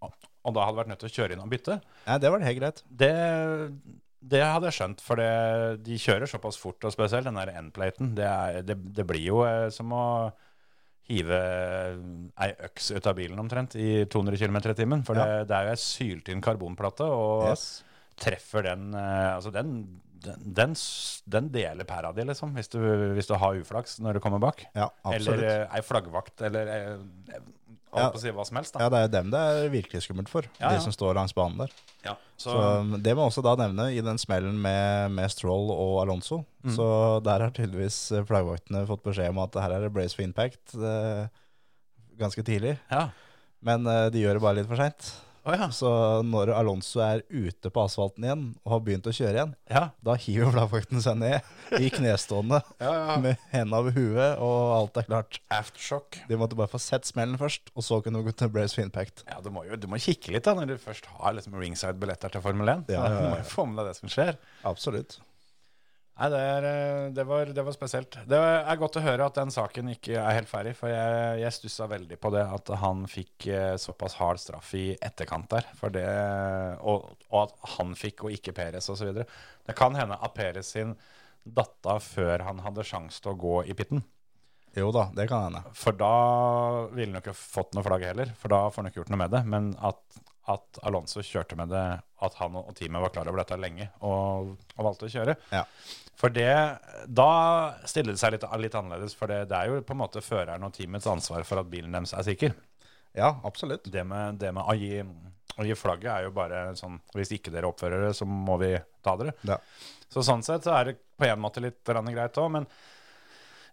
Speaker 3: og da hadde vært nødt til å kjøre inn og bytte.
Speaker 4: Nei, det var det helt greit.
Speaker 3: Det, det hadde jeg skjønt, for det, de kjører såpass fort, og spesielt den der endplaten. Det, er- det, det blir jo eh, som å hive ei øks ut av bilen omtrent i 200 km i timen. For det, det er jo ei syltynn karbonplate, og
Speaker 4: Yes.
Speaker 3: treffer den eh, Altså, den, den, den, s- den deler pæra di, liksom, hvis du, hvis du har uflaks når du kommer bak.
Speaker 4: Ja, absolutt.
Speaker 3: Eller eh, ei flaggvakt, eller eh,
Speaker 4: Ja.
Speaker 3: holdt på å si hva som helst,
Speaker 4: Ja,
Speaker 3: da.
Speaker 4: det er jo dem det er virkelig skummelt for,
Speaker 3: Ja, ja.
Speaker 4: de som står langs banen der.
Speaker 3: Ja. Så,
Speaker 4: Så um, Det må også da nevne i den smellen med, med Stroll og Alonso.
Speaker 3: Mm.
Speaker 4: Så der har tydeligvis eh, flaggvaktene fått beskjed om at her er det brace for impact eh, ganske tidlig.
Speaker 3: ja.
Speaker 4: Men eh, de gjør det bare litt for seint.
Speaker 3: Å ja.
Speaker 4: Så når Alonso er ute på asfalten igjen og har begynt å kjøre igjen,
Speaker 3: ja.
Speaker 4: da hiver flaggvakten seg ned i knestående med hendene over huet, og alt er klart.
Speaker 3: Aftershock.
Speaker 4: De måtte bare få sett smellen først, og så kunne de gå til brace for impact.
Speaker 3: Ja, du må jo du må kikke litt da, når du først har liksom ringside-billetter til Formel 1.
Speaker 4: Ja, ja,
Speaker 3: Du
Speaker 4: ja.
Speaker 3: må jo få med deg det som skjer.
Speaker 4: Absolutt.
Speaker 3: Nei, det, er, eh, det, var, det var spesielt. Det er godt å høre at den saken ikke er helt ferdig, for jeg, jeg stussa veldig på det at han fikk eh, såpass hard straff i etterkant der, for det, og, og at han fikk og ikke Peres osv. Det kan hende at Peres sin datt av før han hadde sjanse til å gå i pitten.
Speaker 4: Jo da, det kan hende.
Speaker 3: For da ville han jo ikke fått noe flagg heller, for da får han jo ikke gjort noe med det. Men at, at Alonso kjørte med det, at han og teamet var klar over dette lenge og, og valgte å kjøre.
Speaker 4: Ja.
Speaker 3: For det, da stiller det seg litt, litt annerledes, for det, det er jo på en måte føreren og teamets ansvar for at bilen deres er sikker.
Speaker 4: Ja, absolutt.
Speaker 3: Det med, det med å, gi, å gi flagget er jo bare sånn, hvis ikke dere oppfører dere, så må vi ta dere.
Speaker 4: Ja.
Speaker 3: Så sånn sett så er det på en måte litt grann greit òg, men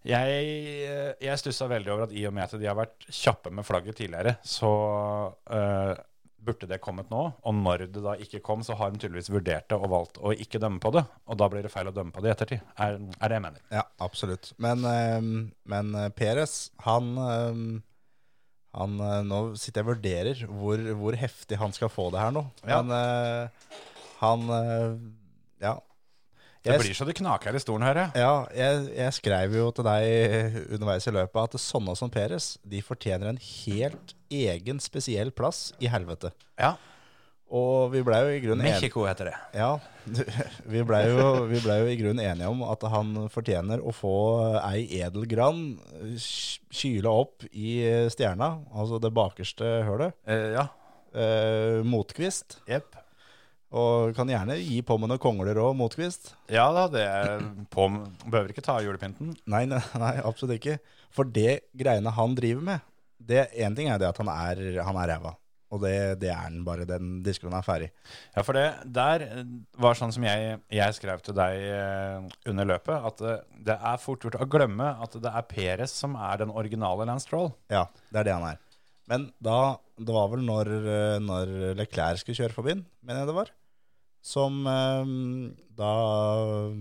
Speaker 3: jeg, eh, jeg stussa veldig over at i og med at de har vært kjappe med flagget tidligere, så eh, burde det kommet nå. Og når det da ikke kom, så har de tydeligvis vurdert det og valgt å ikke dømme på det. Og da blir det feil å dømme på det i ettertid, er, er det jeg mener.
Speaker 4: Ja, absolutt. Men, ehm, men eh, Peres, han, ehm, han eh, Nå sitter jeg og vurderer hvor, hvor heftig han skal få det her nå.
Speaker 3: Ja.
Speaker 4: Men eh, han eh, Ja.
Speaker 3: Det
Speaker 4: Jeg,
Speaker 3: blir så det knaker i stolen, hører jeg.
Speaker 4: ja jeg, jeg skrev jo til deg underveis i løpet at sånne som Peres, de fortjener en helt egen spesiell plass i helvete.
Speaker 3: Ja.
Speaker 4: Og vi blei jo i grunnen enige
Speaker 3: Mexico heter det.
Speaker 4: Ja, du, vi blei jo, vi ble jo i grunnen enige om at han fortjener å få ei edelgran eh, sk- kyla opp i eh, stjerna, altså det bakerste hølet,
Speaker 3: Eh, ja.
Speaker 4: eh, motkvist.
Speaker 3: Jepp.
Speaker 4: Og kan gjerne gi på med noen kongler òg, motkvist.
Speaker 3: Ja da, det er på Behøver ikke ta av julepynten.
Speaker 4: Nei, nei, nei, absolutt ikke. For det greiene han driver med det, En ting er det at han er, han er ræva, og det, det er han bare. Den disken er ferdig.
Speaker 3: Ja, for det der eh, var sånn som jeg, jeg skrev til deg eh, under løpet, at eh, det er fort gjort å glemme at det er Peres som er den originale Lance Troll.
Speaker 4: Ja, det er det han er. Men da, det var vel når, eh, når Leclerc skulle kjøre forbi, han, mener jeg det var, som eh, da eh,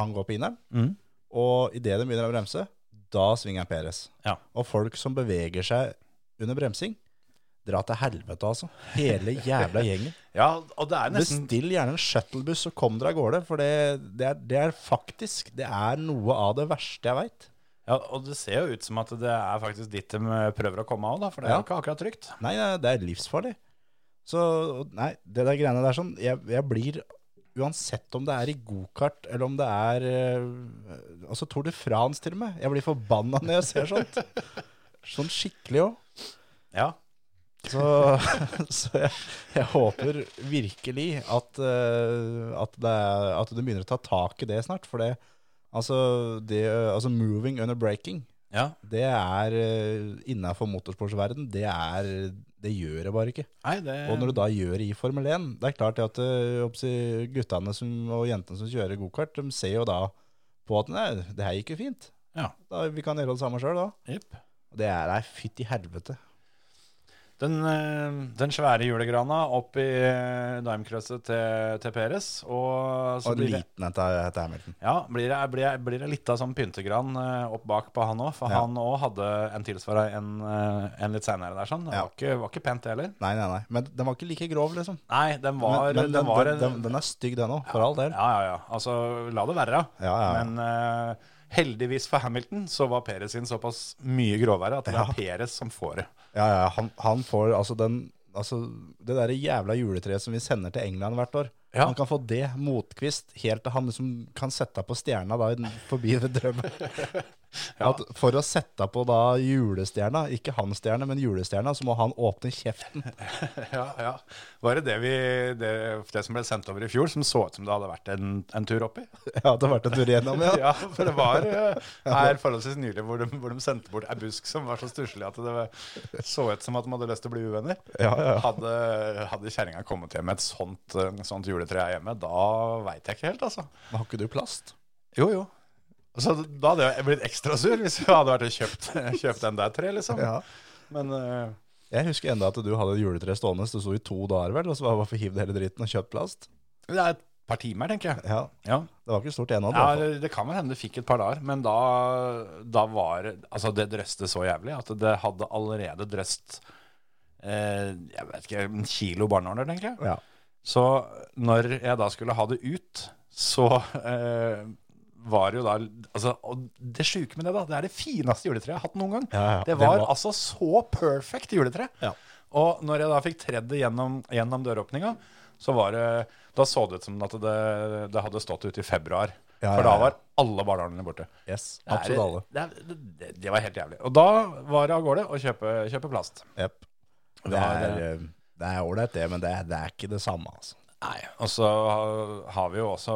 Speaker 4: han går på inneren,
Speaker 3: Mhm.
Speaker 4: og idet de begynner å bremse, da svinger Peres.
Speaker 3: Ja.
Speaker 4: Og folk som beveger seg under bremsing, dra til helvete, altså. Hele jævla gjengen.
Speaker 3: Ja, og det er nesten
Speaker 4: Bestill gjerne en shuttlebuss og kom dere av gårde, for det, det, er, det er faktisk det er noe av det verste jeg veit.
Speaker 3: ja, Og det ser jo ut som at det er faktisk dit de eh, prøver å komme av, da, for det er
Speaker 4: Ja.
Speaker 3: jo ikke akkurat trygt.
Speaker 4: Nei, nei, det er livsfarlig. Så nei, det der greiene der sånn, jeg, jeg blir Uansett om det er i gokart eller om det er eh, Altså Tour de France til og med. Jeg blir forbanna når jeg ser sånt. Sånn skikkelig òg.
Speaker 3: Ja.
Speaker 4: Så, så jeg, jeg håper virkelig at, eh, at, det er, at du begynner å ta tak i det snart. For det, altså, det, altså moving under breaking,
Speaker 3: ja.
Speaker 4: eh, det er innafor motorsportsverden, det er det gjør jeg bare ikke.
Speaker 3: Nei, det
Speaker 4: Og når du da gjør det i Formel 1, det er klart det at eh, oppsi- guttene som, og jentene som kjører gokart, de ser jo da på at nei, det her gikk jo fint.
Speaker 3: Ja.
Speaker 4: Da, vi kan gjøre det samme sjøl, da.
Speaker 3: Jepp.
Speaker 4: Og det er ei fytti helvete.
Speaker 3: Den, eh, den svære julegrana opp i eh, daimkrøsset til, til Peres. Og så
Speaker 4: Og
Speaker 3: blir det,
Speaker 4: liten dette dette Hamilton.
Speaker 3: ja, blir det, blir det, blir det litt av sånn pyntegran eh, opp bak på han òg. For
Speaker 4: Ja.
Speaker 3: han òg hadde en tilsvara en, eh, en litt seinere der. sånn. Det
Speaker 4: Ja.
Speaker 3: var, ikke, var ikke pent, det heller.
Speaker 4: Nei, nei, nei. Men den var ikke like grov, liksom.
Speaker 3: Nei, den var,
Speaker 4: men men
Speaker 3: den
Speaker 4: den,
Speaker 3: var
Speaker 4: den, den, den er stygg, den òg, for all del.
Speaker 3: Ja, ja, ja. Altså, la det være.
Speaker 4: Ja, ja, ja.
Speaker 3: Men eh, heldigvis for Hamilton så var Peres sin såpass mye gråvære at det
Speaker 4: Ja.
Speaker 3: er Peres som får det.
Speaker 4: Ja, ja, han, han får altså den Altså, det derre jævla juletreet som vi sender til England hvert år.
Speaker 3: Ja.
Speaker 4: Han kan få det motkvist helt til han liksom kan sette på stjerna da i den- forbi ved drømmen. At for å sette på da julestjerna, ikke hans stjerne, men julestjerna, så må han åpne kjeften.
Speaker 3: Ja, ja. Var det det, vi, det, det som ble sendt over i fjor, som så ut som det hadde vært en, en tur oppi?
Speaker 4: Ja, det har vært en tur igjennom, ja.
Speaker 3: Ja, for det var eh, her forholdsvis nylig hvor de, hvor de sendte bort ei busk som var så stusslig at det var- så ut som at de hadde lyst til å bli uvenner.
Speaker 4: Ja, ja.
Speaker 3: Hadde, hadde kjerringa kommet hjem med et sånt, eh, sånt juletre her hjemme, da veit jeg ikke helt, altså.
Speaker 4: Men har ikke du plast?
Speaker 3: Jo, jo. Så da hadde jeg blitt ekstra sur hvis jeg hadde vært og kjøpt, kjøpt den der tre, liksom. Men eh,
Speaker 4: Jeg husker enda at du hadde et juletre stående, så det sto i to dager vel, og så var det bare for hiv det hele dritten og kjøpt plast.
Speaker 3: det er et par timer, tenker jeg.
Speaker 4: Ja,
Speaker 3: Ja.
Speaker 4: det var ikke stort ennå.
Speaker 3: Ja, eller det kan vel hende det fikk et par dager, men da, da var Altså, det drøste så jævlig at det hadde allerede drøst eh, Jeg vet ikke, en kilo barneordner, tenker jeg.
Speaker 4: Ja.
Speaker 3: Så når jeg da skulle ha det ut, så eh, var det jo da altså, Og det sjuke med det, da, det er det fineste juletreet jeg har hatt noen gang.
Speaker 4: Ja, ja.
Speaker 3: Det
Speaker 4: Det
Speaker 3: var
Speaker 4: var-
Speaker 3: altså så perfect juletre.
Speaker 4: Ja.
Speaker 3: Og når jeg da fikk tredd det gjennom, gjennom døråpninga, så var det Da så det ut som at det, det hadde stått ute i februar.
Speaker 4: Ja,
Speaker 3: For
Speaker 4: ja,
Speaker 3: da
Speaker 4: ja.
Speaker 3: var alle barnehaglene borte.
Speaker 4: Yes,
Speaker 3: Det er-
Speaker 4: absolutt alle.
Speaker 3: Det, er- det, det var helt jævlig. Og da var det av gårde å kjøpe, kjøpe plast.
Speaker 4: Jepp. Det
Speaker 3: Ja,
Speaker 4: er eh, det er ålreit, det, men det er, det er ikke det samme, altså.
Speaker 3: Nei. Og så har- har vi jo også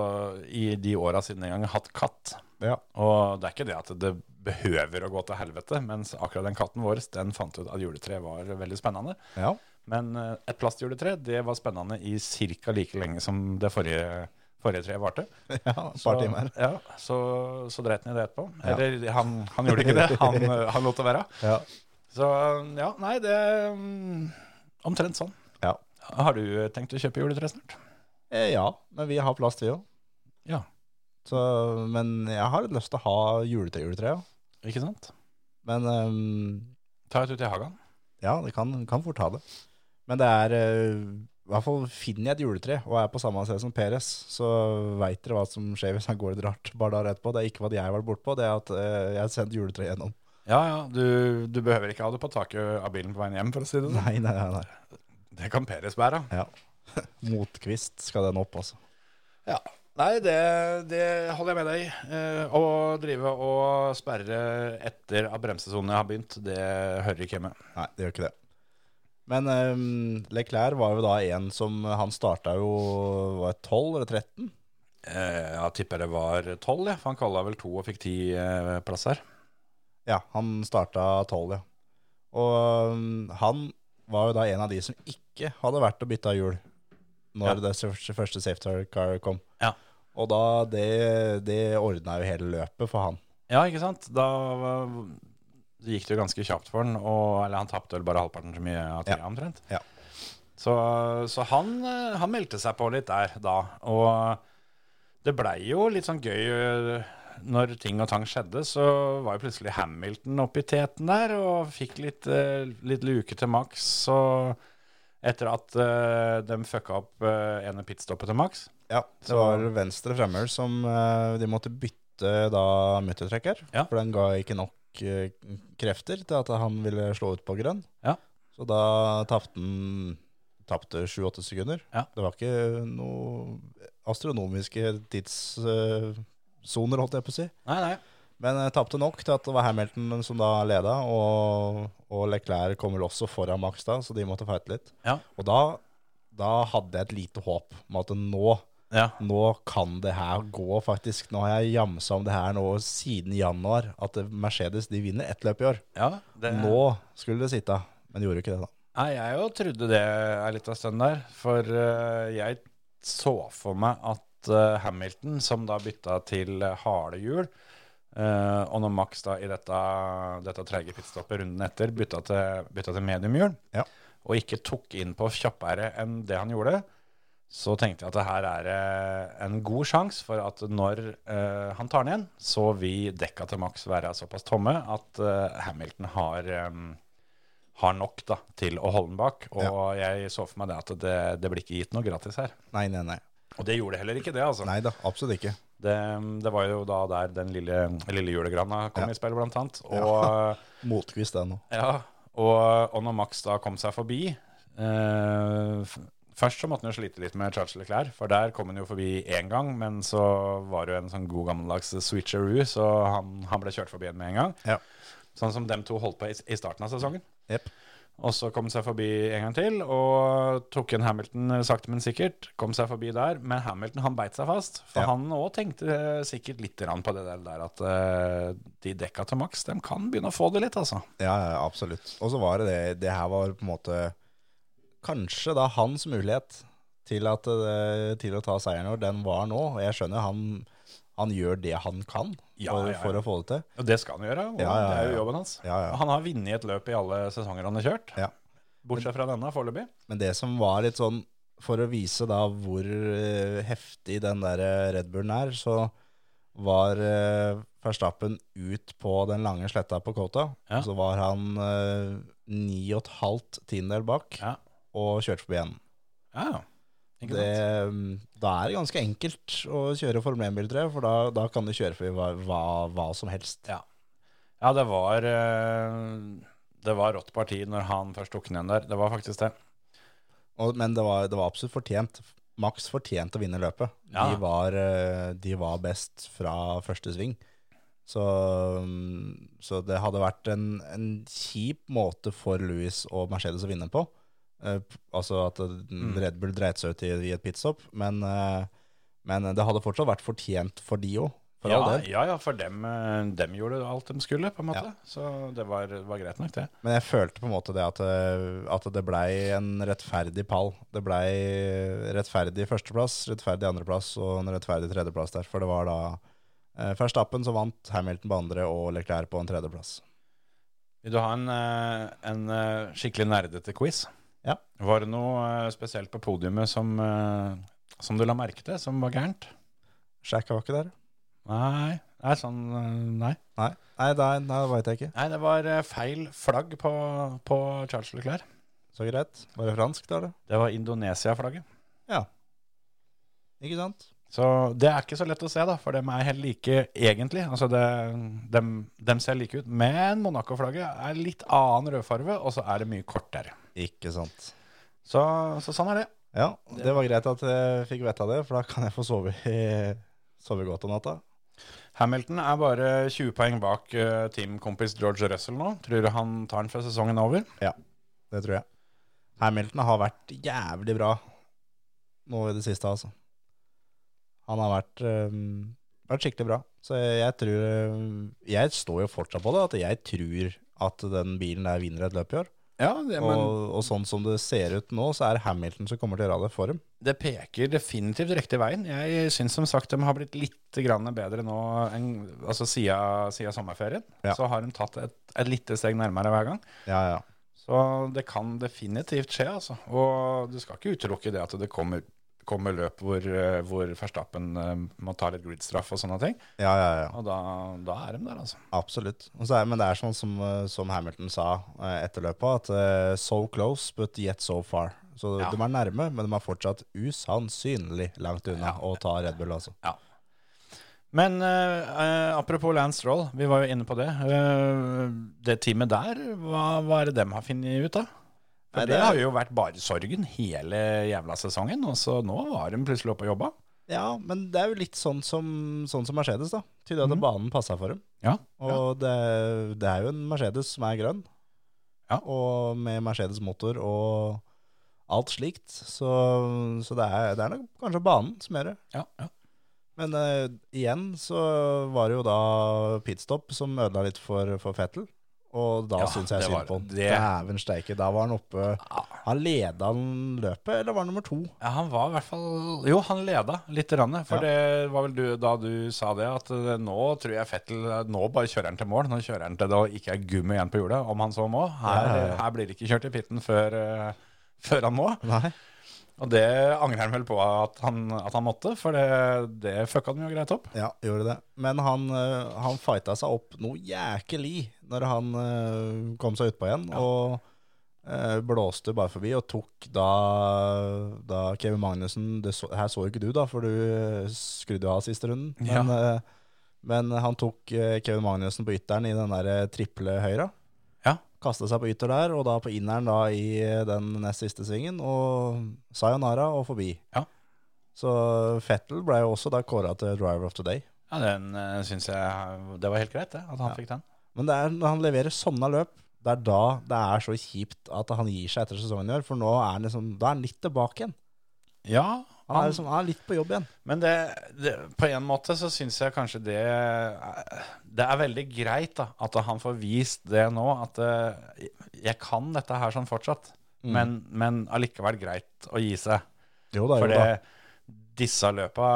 Speaker 3: i de åra siden den gangen hatt katt.
Speaker 4: Ja.
Speaker 3: Og det er ikke det at det behøver å gå til helvete, mens akkurat den katten vår den fant ut at juletreet var veldig spennende.
Speaker 4: ja.
Speaker 3: Men eh, et plastjuletre det var spennende i ca. like lenge som det forrige, forrige treet varte.
Speaker 4: Et par timer.
Speaker 3: Ja, så, så dreit han i det etterpå.
Speaker 4: Ja.
Speaker 3: Eller han, han gjorde ikke det, han, eh, han lot det være.
Speaker 4: Ja.
Speaker 3: Så eh, ja, nei, det mm, Omtrent sånn.
Speaker 4: Ja.
Speaker 3: Har du eh, tenkt å kjøpe juletre snart?
Speaker 4: Eh, ja, men vi har plast, vi òg.
Speaker 3: Ja.
Speaker 4: Men jeg har lyst til å ha juletre-juletre, ja.
Speaker 3: Ikke sant?
Speaker 4: Men eh,
Speaker 3: Ta et ut i hagen.
Speaker 4: ja, det kan, kan fort ha det. Men det er eh, I hvert fall finner jeg et juletre og er på samme sted som Peres, så veit dere hva som skjer hvis han går litt rart bare dager etterpå. Det er ikke hva jeg var bortpå, det er at eh, jeg har sendt juletre gjennom.
Speaker 3: Ja, ja, du, du behøver ikke ha det på taket av bilen på veien hjem, for å si det sånn.
Speaker 4: Nei, nei, nei. nei.
Speaker 3: Det kan Peres bære.
Speaker 4: Ja. Motkvist skal den opp, altså.
Speaker 3: Ja. Nei, det, det holder jeg med deg i. Eh, Å drive og sperre etter at bremsesonen har begynt, det hører ikke hjemme.
Speaker 4: Nei, det gjør ikke det. Men um, Leclerc var jo da en som Han starta jo var det 12 eller 13.
Speaker 3: Eh, jeg tipper det var tolv, ja. for han kalla vel to og fikk ti eh, plasser.
Speaker 4: Ja, han starta 12, ja. Og um, han var jo da en av de som ikke hadde vært og bytta hjul når
Speaker 3: Ja.
Speaker 4: det første- første safety car kom.
Speaker 3: Ja.
Speaker 4: Og da det, det ordna jo hele løpet for han.
Speaker 3: Ja, ikke sant? Da var- gikk det jo ganske kjapt for han, og, eller han tapte vel bare halvparten så mye av tida
Speaker 4: Ja.
Speaker 3: omtrent.
Speaker 4: Ja.
Speaker 3: Så, så han, eh, han meldte seg på litt der da, og det blei jo litt sånn gøy eh, når ting og tang skjedde, så var jo plutselig Hamilton oppe i teten der, og fikk litt, eh, litt luke til Max, og etter at eh, de fucka opp eh, ene pitstoppet til Max.
Speaker 4: Ja, det
Speaker 3: Så-
Speaker 4: var venstre fremmer som eh, de måtte bytte da muttertrekker,
Speaker 3: Ja.
Speaker 4: for den ga ikke nok eh, krefter til at han ville slå ut på grønn.
Speaker 3: Ja.
Speaker 4: Så da tapte han tapte 7-8 sekunder.
Speaker 3: Ja.
Speaker 4: Det var ikke noe astronomiske tidssoner, holdt jeg på å si.
Speaker 3: Nei, nei.
Speaker 4: Men eh, tapte nok til at det var Hamilton som da leda, og, og Leclerc kom vel også foran Max da, så de måtte fighte litt.
Speaker 3: Ja.
Speaker 4: Og da, da hadde jeg et lite håp om at nå
Speaker 3: Ja,
Speaker 4: nå kan det her gå, faktisk. Nå har jeg jamsa om det her nå siden januar, at Mercedes de vinner ett løp i år.
Speaker 3: ja det,
Speaker 4: Nå skulle det sitte, men de gjorde jo ikke det, da.
Speaker 3: Nei, jeg jo trodde det er litt av stund der. For eh, jeg så for meg at eh, Hamilton, som da bytta til eh, harde hjul, eh, og når Max da i dette, dette treige pitstoppet runden etter bytta til, bytta til mediumhjul,
Speaker 4: Ja.
Speaker 3: og ikke tok inn på kjappere enn det han gjorde, så tenkte jeg at det her er eh, en god sjanse for at når eh, han tar den igjen, så vil dekka til Max være såpass tomme at eh, Hamilton har eh, har nok da, til å holde den bak. Og jeg så for meg det at det, det blir ikke gitt noe gratis her.
Speaker 4: Nei, nei, nei.
Speaker 3: Og det gjorde heller ikke det, altså.
Speaker 4: Nei da, absolutt ikke.
Speaker 3: Det, det var jo da der den lille, lille julegrana kom
Speaker 4: Ja.
Speaker 3: i spill, blant annet. Og,
Speaker 4: Ja. Motkvist det nå.
Speaker 3: ja, og, og når Max da kom seg forbi eh, f- Først så måtte han jo slite litt med Charles Leclerc, for der kom han jo forbi én gang, men så var det jo en sånn god gammeldags switcheroo, så han, han ble kjørt forbi igjen med en gang.
Speaker 4: Ja.
Speaker 3: Sånn som dem to holdt på i, i starten av sesongen.
Speaker 4: Jepp.
Speaker 3: Og så kom seg forbi en gang til, og tok en Hamilton eh, sakte, men sikkert. Kom seg forbi der, men Hamilton han beit seg fast. For
Speaker 4: Ja.
Speaker 3: han òg tenkte eh, sikkert litt grann på det der, der at eh, de dekka til Max, de kan begynne å få det litt, altså.
Speaker 4: Ja, ja, absolutt. Og så var det det Det her var på en måte kanskje da hans mulighet til, at, eh, til å ta seieren vår. Den var nå. Og jeg skjønner han, han gjør det han kan
Speaker 3: Ja,
Speaker 4: for,
Speaker 3: ja, ja.
Speaker 4: for å få det til.
Speaker 3: Og det skal han gjøre. Og
Speaker 4: Ja, ja,
Speaker 3: Det er
Speaker 4: ja.
Speaker 3: jo jobben hans.
Speaker 4: Ja, ja.
Speaker 3: Han har vunnet et løp i alle sesonger han har kjørt.
Speaker 4: Ja.
Speaker 3: Bortsett fra denne foreløpig.
Speaker 4: Men det som var litt sånn For å vise da hvor eh, heftig den der eh, Red Bullen er, så var eh, Verstappen ut på den lange sletta på Kota.
Speaker 3: Ja.
Speaker 4: Så var han eh, ni og et halvt tiendedel bak
Speaker 3: Ja.
Speaker 4: og kjørte forbi enden.
Speaker 3: Ja, ja. Ikke
Speaker 4: Det,
Speaker 3: sant?
Speaker 4: mm, da er det ganske enkelt å kjøre Formel 1-bil, tror jeg, for da, da kan du kjøre forbi hva, hva, hva som helst.
Speaker 3: Ja, det var eh, Det var rått parti når han først tok den igjen der. Det var faktisk det.
Speaker 4: Og, men det var, det var absolutt fortjent. Max fortjente å vinne løpet.
Speaker 3: Ja.
Speaker 4: De, var, eh, de var best fra første sving. Så, mm, så det hadde vært en, en kjip måte for Louis og Mercedes å vinne på. Eh, p- altså at eh,
Speaker 3: Mm.
Speaker 4: Red Bull dreit seg ut i, i et pitstop, men, eh, men det hadde fortsatt vært fortjent for de òg, for
Speaker 3: ja,
Speaker 4: all del.
Speaker 3: ja, ja, for dem, eh, dem gjorde alt de skulle, på en måte. Så det var, var greit nok, det.
Speaker 4: Men jeg følte på en måte det at, eh, at det blei en rettferdig pall. Det blei rettferdig førsteplass, rettferdig andreplass og en rettferdig tredjeplass der. For det var da eh, Verstappen som vant, Hamilton på andre og Leclerc på en tredjeplass.
Speaker 3: Vil du ha en, eh, en eh, skikkelig nerdete quiz?
Speaker 4: Ja.
Speaker 3: Var det noe eh, spesielt på podiumet som, eh, som du la merke til, som var gærent?
Speaker 4: Shack var ikke der.
Speaker 3: Nei. Nei, sånn, eh, nei.
Speaker 4: Nei, nei, nei, nei det veit jeg ikke.
Speaker 3: Nei, det var eh, feil flagg på, på Charles Leclerc.
Speaker 4: Så greit. Var det fransk der, da?
Speaker 3: Det var Indonesia-flagget.
Speaker 4: Ikke sant?
Speaker 3: Så det er ikke så lett å se, da, for dem er helt like egentlig. Altså, det, dem, dem ser like ut. Men Monaco-flagget er litt annen rødfarve, og så er det mye kortere.
Speaker 4: Ikke sant.
Speaker 3: Så, så sånn er det.
Speaker 4: Ja, det var greit at jeg fikk vite det, for da kan jeg få sove, i- sove godt om natta.
Speaker 3: Hamilton er bare 20 poeng bak eh, teamkompis George Russell nå. Tror du han tar den før sesongen er over?
Speaker 4: Det tror jeg. Hamilton har vært jævlig bra nå i det siste, altså. Han har vært, øhm, vært skikkelig bra. Så jeg tror øhm, Jeg står jo fortsatt på det, at jeg tror at den bilen der vinner et løp i år.
Speaker 3: Ja, det,
Speaker 4: og, og sånn som det ser ut nå, så er det Hamilton som kommer til å gjøre det for dem.
Speaker 3: det peker definitivt riktig veien. Jeg syns som sagt de har blitt litt grann bedre nå enn altså, siden, siden sommerferien.
Speaker 4: Ja.
Speaker 3: Så har de tatt et, et lite steg nærmere hver gang.
Speaker 4: Ja, ja.
Speaker 3: Så det kan definitivt skje, altså. Og du skal ikke utelukke det at det kommer, kommer løp hvor, eh, hvor Verstappen eh, må ta litt gridstraff og sånne ting.
Speaker 4: ja, ja, ja.
Speaker 3: Og da, da er de der, altså.
Speaker 4: Absolutt. Og så er, men det er sånn som, eh, som Hamilton sa eh, etter løpet, at eh, so close, but yet so far. Så
Speaker 3: Ja.
Speaker 4: de er nærme, men de er fortsatt usannsynlig langt unna å ta Red Bull, altså.
Speaker 3: Men eh, eh, apropos Lance Stroll, vi var jo inne på det. Eh, det teamet der, hva, hva er det dem har funnet ut av? For
Speaker 4: Nei,
Speaker 3: det,
Speaker 4: det er-
Speaker 3: har jo vært bare sorgen hele jævla sesongen, og så nå var de plutselig oppe og jobba.
Speaker 4: Ja, men det er jo litt sånn som, sånn som Mercedes, da. Tydelig at banen passa for dem.
Speaker 3: Mhm. Ja.
Speaker 4: Og det, det er jo en Mercedes som er grønn,
Speaker 3: Ja.
Speaker 4: og med Mercedes-motor og alt slikt. Så, så det, er, det er nok kanskje banen som gjør det.
Speaker 3: Ja, ja.
Speaker 4: Men eh, igjen så var det jo da pitstop som ødela litt for, for Fettel. Og da
Speaker 3: Ja,
Speaker 4: synes syns jeg
Speaker 3: det
Speaker 4: synd
Speaker 3: var-
Speaker 4: på han.
Speaker 3: det-
Speaker 4: Dæven steike. Da var han oppe Han leda han løpet, eller var han nummer to?
Speaker 3: Ja, han var i hvert fall Jo, han leda litt. Rann, for
Speaker 4: Ja.
Speaker 3: det var vel du, da du sa det, at eh, nå tror jeg Fettel eh, Nå bare kjører han til mål. Nå kjører han til det og ikke er gummi igjen på hjulet, om han så må. Her, eh,
Speaker 4: Ja, ja, ja.
Speaker 3: her blir det ikke kjørt i pitten før, eh, før han må.
Speaker 4: Nei.
Speaker 3: Og det angrer han vel på at han, at han måtte, for det, det fucka dem jo greit opp.
Speaker 4: Ja, gjorde det. Men han, eh, han fighta seg opp noe jækelig når han eh, kom seg utpå igjen. Og eh, blåste bare forbi og tok da, da Kevin Magnussen det så, Her så jo ikke du, da, for du skrudde jo av siste runden. Men, eh, men han tok eh, Kevin Magnussen på ytteren i den der eh, triple høyra.
Speaker 3: Ja.
Speaker 4: Kasta seg på ytter der, og da på inneren da i eh, den nest siste svingen. Og sayonara og forbi.
Speaker 3: Ja.
Speaker 4: Så Fettel ble jo også da kåra til driver of the day.
Speaker 3: Ja, den uh, syns jeg Det var helt greit, det, at han
Speaker 4: Ja.
Speaker 3: fikk den.
Speaker 4: Men det er når han leverer sånne løp, det er da det er så kjipt at han gir seg etter sesongen i år. For nå er han liksom, da er han litt tilbake igjen.
Speaker 3: Ja,
Speaker 4: Han er, liksom, han er litt på jobb igjen.
Speaker 3: Men det, det, på en måte så syns jeg kanskje det eh, Det er veldig greit da, at han får vist det nå, at eh, jeg kan dette her sånn fortsatt. Men, men allikevel greit å gi seg.
Speaker 4: Jo da,
Speaker 3: For det, disse løpa